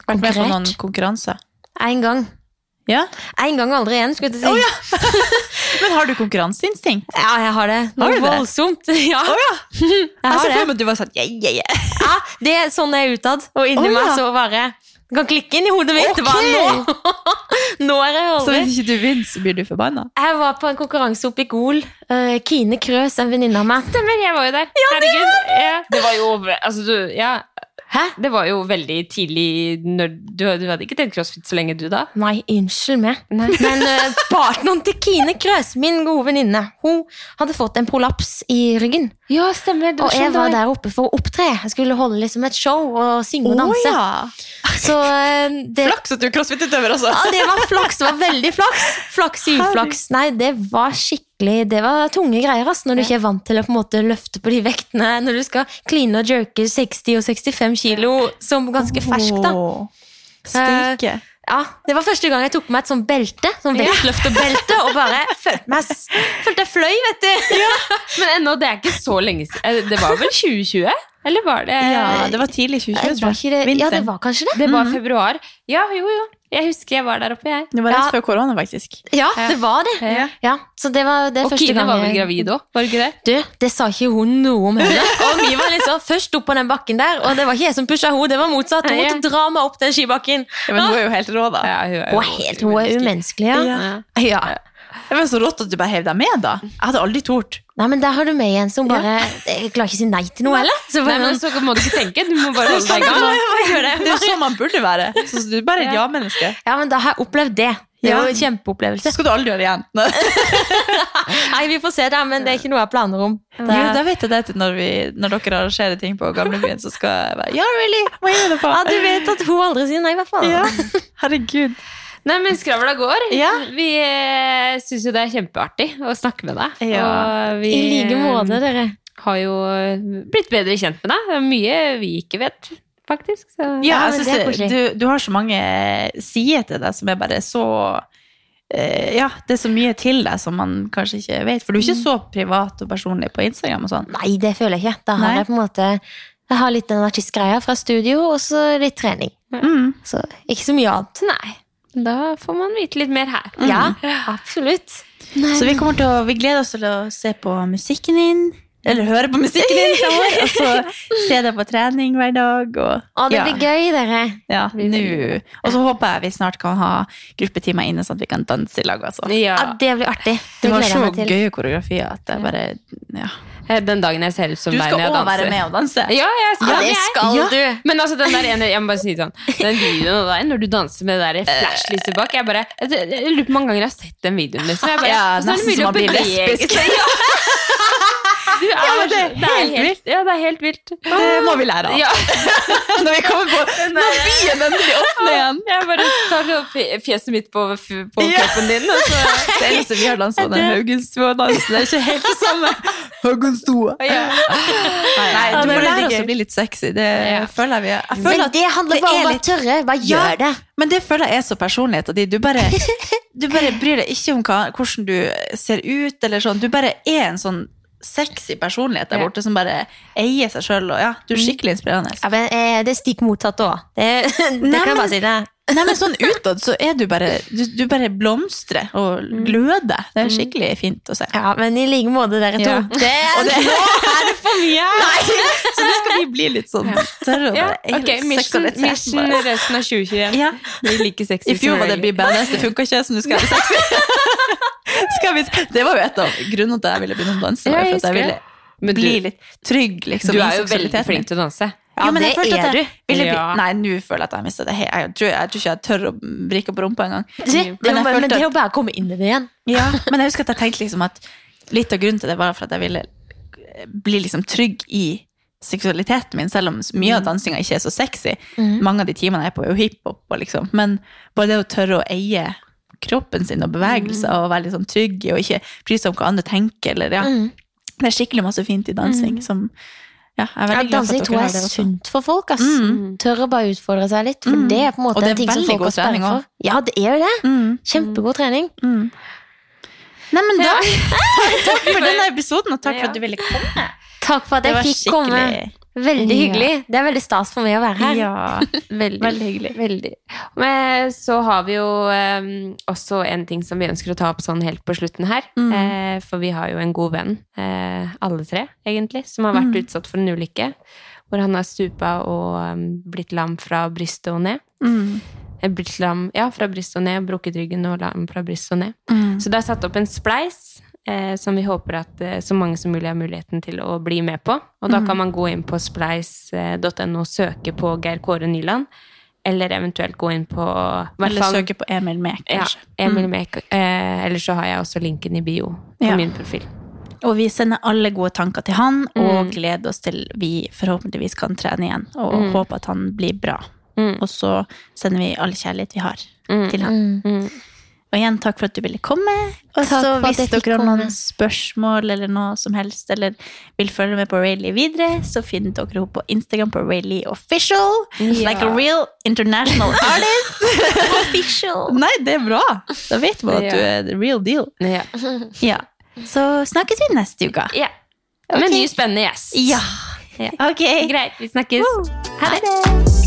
Vært med på
Konkurrert?
noen konkurranser?
En gang.
Ja.
En gang aldri igjen, skulle jeg til å si. ja.
Men har du konkurranseinstinkt?
jeg har det.
Har
Noe
du det?
voldsomt. Ja. Jeg
Jeg
har
ser
det.
for meg at du var sånn yeah, yeah, yeah.
Ja, det er sånn jeg er utad, og inni
Å, ja.
meg så bare Du kan klikke inn i hodet mitt. Bare, nå. nå er jeg
Så
aldri
hvis ikke du vinner, så blir du forbanna.
Jeg var på en konkurranse oppe i Gol. Eh, Kine Krøs, en venninne av meg.
Stemmer, jeg var jo der. Herregud. Ja, det var jo over- altså, du, ja,
Hæ?
det var jo veldig tidlig når du, du hadde ikke trent crossfit så lenge, du da?
Nei, unnskyld meg. Men eh, partneren til Kine Krøs, min gode venninne, hun hadde fått en prolaps i ryggen.
Ja, stemmer. sånn
Og jeg var der oppe for å opptre. Jeg skulle holde liksom et show og synge og danse. Så eh, det,
Flaks at du er crossfit-utøver altså. også.
ja, det var flaks. Det var veldig flaks. Flaks i uflaks. Nei, det var skikkelig Det var tunge greier ass, når du ikke er vant til å på en måte løfte på de vektene. Når du skal kline og jerke 60 og 65 kilo som ganske fersk, da.
Åh, Steike.
Ja, Det var første gang jeg tok på meg et sånt belte, sånn vektløfterbelte, og bare følte meg s- Følte jeg fløy, vet du.
Men ennå, det er ikke så lenge siden. Det var vel 2020? Eller var det
Ja, det var tidlig 2020,
Var ikke det, ja, det
Vinteren.
var kanskje det.
Det var februar. Ja, jo, jo. Jeg husker jeg var der oppe, jeg.
Det var
Ja.
rett før korona, faktisk.
Ja, det var det.
Ja.
Ja, så det var det
Og
første
Kine
gang
var vel
jeg-
gravid òg, var det ikke det?
Du, det sa ikke hun noe om henne. Og vi var liksom først opp på den bakken der, og det var ikke jeg som pusha henne, det var motsatt. Hun måtte dra meg opp den skibakken.
Ja, men hun er jo helt rå, da.
Ja, hun er
Hun er helt hun er umenneskelig, ja.
Ja.
ja.
Det var så rått at du bare hev deg med, da. Jeg hadde aldri tort.
Nei, men der har du meg igjen, som bare Jeg klarer ikke å si nei til noe, heller. Så
Nei,
bare, sånn,
men så må du ikke tenke. Du må bare holde deg i gang.
Det er jo sånn man burde være. Så du er bare et ja-menneske.
ja, men da har jeg opplevd det. Det
Ja.
var en kjempeopplevelse.
Så skal du aldri gjøre det igjen.
Nei, vi får se det, men det er ikke noe jeg har planer om. Det
Jo,
er-
da vet jeg det til når, vi, når dere arrangerer ting på gamlebyen, så skal jeg være Ja, really? Hva gjør du på?
Ja, eh. du vet at hun aldri sier nei, i hvert fall.
Ja. Herregud.
Nei, men skravla går.
Ja.
Vi eh, syns jo det er kjempeartig å snakke med deg.
Ja.
Og vi
I like måte,
eh,
dere.
har jo blitt bedre kjent med deg. Det er mye vi ikke vet, faktisk. Så.
Ja, jeg
Ja, men det er
synes
koselig.
det, du, du har så mange sider til deg som er bare så eh, Ja, det er så mye til deg som man kanskje ikke vet. For du er
Mm.
ikke så privat og personlig på Instagram og sånn.
Nei, det føler jeg ikke. Da har
Nei.
jeg på en måte Jeg har litt den artistgreia fra studio, og så litt trening.
Mm.
Så ikke så mye annet.
Nei. Da får man vite litt mer her. Mm.
Ja, absolutt. Nei,
Så vi, kommer til å, vi gleder oss til å se på musikken din, eller høre på musikken din fremover, og så se deg på trening hver dag. Og,
Å, det blir gøy, dere.
ja, nå. Og så håper jeg vi snart kan ha gruppetimer inne, sånn at vi kan danse i lag også.
Ja, det blir artig.
Det
Det
var
gleder jeg
så
meg til.
gøye koreografier at jeg bare ja.
Eh, Den dagen jeg ser ut som
Du
deg
skal
når jeg
òg
danser.
være med og danse.
Ja, jeg skal
Ja, det
jeg.
skal
Ja.
du.
Men altså, den der ene, jeg må bare si det sånn, den videoen av deg når du danser med det der flashlyset bak, jeg bare, jeg, jeg lurer på hvor mange ganger jeg har sett den videoen, liksom. Jeg bare,
Ja,
hvordan er det
nesten
mulig å
som man blir
bevege
lesbisk.
seg? Ja. Du er,
men det er
det er helt vilt. Ja, det er helt vilt.
Det må vi lære av.
Ja,
Når vi kommer på Når byen endelig åpner igjen.
jeg bare tar opp fjeset mitt på, på
Ja.
kroppen din, og så...
Det eneste vi har danset, den Haugenstua-dansen. Det er ikke helt det samme. Haugenstua.
Ja.
Nei,
Ja,
du
det
må
blir
lære
gøy.
oss å bli litt sexy. Det
Ja.
føler jeg vi jeg føler
Men
at,
det handler
det
bare
er
om å være
litt-
tørre. Bare
Ja.
gjør det.
men det føler jeg er så personlighet av de. Du bare, du bare bryr deg ikke om hva, hvordan du ser ut, eller sånn. Du bare er en sånn sexy personlighet der
Ja.
borte som bare eier seg sjøl, og ja, du er skikkelig inspirerende.
Ja, men eh, Det er stikk mottatt òg. Det, det kan
Nei,
jeg
men-
bare si. det.
Nei, men sånn utad så er du bare Du, du bare blomstrer og
Mm.
gløder. Det er skikkelig fint å se.
Ja, Men i like måte, dere to.
Ja.
Det er,
Og det-
Nå er det for mye!
Så nå skal vi bli litt sånn tørre. og
Ja,
bare-
ok, mission,
seksualisere bare.
mission resten av 2021.
Ja.
Blir like sexy
I fjor
som
var det
mulig.
Be Badass, det funka ikke, så nå skal jeg være sexy. skal vi, det var jo et av grunnene til at jeg ville begynne å danse.
Ja,
var jo
jeg
for at jeg
husker
ville
det. Men du,
bli litt trygg liksom,
du
i
er jo veldig
seksualiteten min.
flink til å danse.
Ja,
jo, men jeg
det
følte at
er
jeg ville bli,
Ja.
Nei, nå føler jeg at jeg har mista det. helt. Jeg tror, jeg tror ikke jeg tør å vrikke på rumpa engang.
Det,
Men
det,
jeg
men, men
følte
det er
at-
jo bare å komme inn i det igjen.
Ja, men jeg husker at jeg tenkte liksom at litt av grunnen til det var for at jeg ville bli liksom trygg i seksualiteten min, selv om mye
Mm.
av dansinga ikke er så sexy. Mange av de timene jeg er på, er jo hiphop. og Liksom. Men bare det å tørre å eie kroppen sin og bevegelser og være litt sånn trygg i og ikke bry seg om hva andre tenker. Eller, ja.
Mm. Mm.
Det er skikkelig masse fint i dansing som ja, jeg er
Ja,
veldig glad for
dansing
at
tror
dere
jeg
har det
er
også.
sunt for folk. ass.
Mm.
Tør å bare utfordre seg litt. For
Mm.
det er på en
Og
måte
det er
en ting som
veldig
folk
god
har spenning
trening også.
for. Ja, det er jo det.
Mm,
Kjempegod trening.
mm. Nei, men da,
Ja.
takk for denne episoden, og takk
Ja.
for at du ville komme.
Takk for at
Det var
jeg fikk komme.
skikkelig-
Veldig
Ja.
hyggelig. Det er veldig stas for meg å være her.
Ja.
Veldig,
Veldig hyggelig.
veldig. Men så har vi jo eh, også en ting som vi ønsker å ta opp sånn helt på slutten her.
Mm.
Eh, for vi har jo en god venn, eh, alle tre egentlig, som har vært utsatt for en ulykke. Hvor han har stupa og eh, blitt lam fra brystet og ned.
Mm.
Eh, Blitt lam, ja, fra brystet og ned, brukket ryggen og lam fra brystet og ned.
Mm.
Så det er satt opp en spleis eh, som vi håper at eh, så mange som mulig har muligheten til å bli med på. Og
Mhm.
da kan man gå inn på eh, spleis.no og søke på Geir Kåre Nyland, eller eventuelt gå inn på i hvert
Eller
fall-
søke på Emil Mek,
ja,
kanskje. Mhm.
Emil Mek, eh, eller så har jeg også linken i bio på
Ja.
min profil.
Og vi sender alle gode tanker til han, og
Mm.
gleder oss til vi forhåpentligvis kan trene igjen, og
Mm.
håper at han blir bra.
Mm.
Og så sender vi all kjærlighet vi har
Mm.
til han.
Mm.
Mm.
Og igjen, takk for at du ville komme. Og
Takk
så
for at
hvis
jeg fikk
dere har
komme.
noen spørsmål eller noe som helst, eller vil følge med på Rayleigh videre, så finner dere henne på Instagram på Rayleigh Official.
Ja.
Like a real international artist.
Official.
Nei, det er bra. Da vet man
Ja.
at du er the real deal.
Ja.
Altså, Ja. Så snakkes vi neste uke.
ja. Med
Ok.
ny spennende gjest.
Ja.
Ja.
Ok.
Greit, vi snakkes.
Ha det.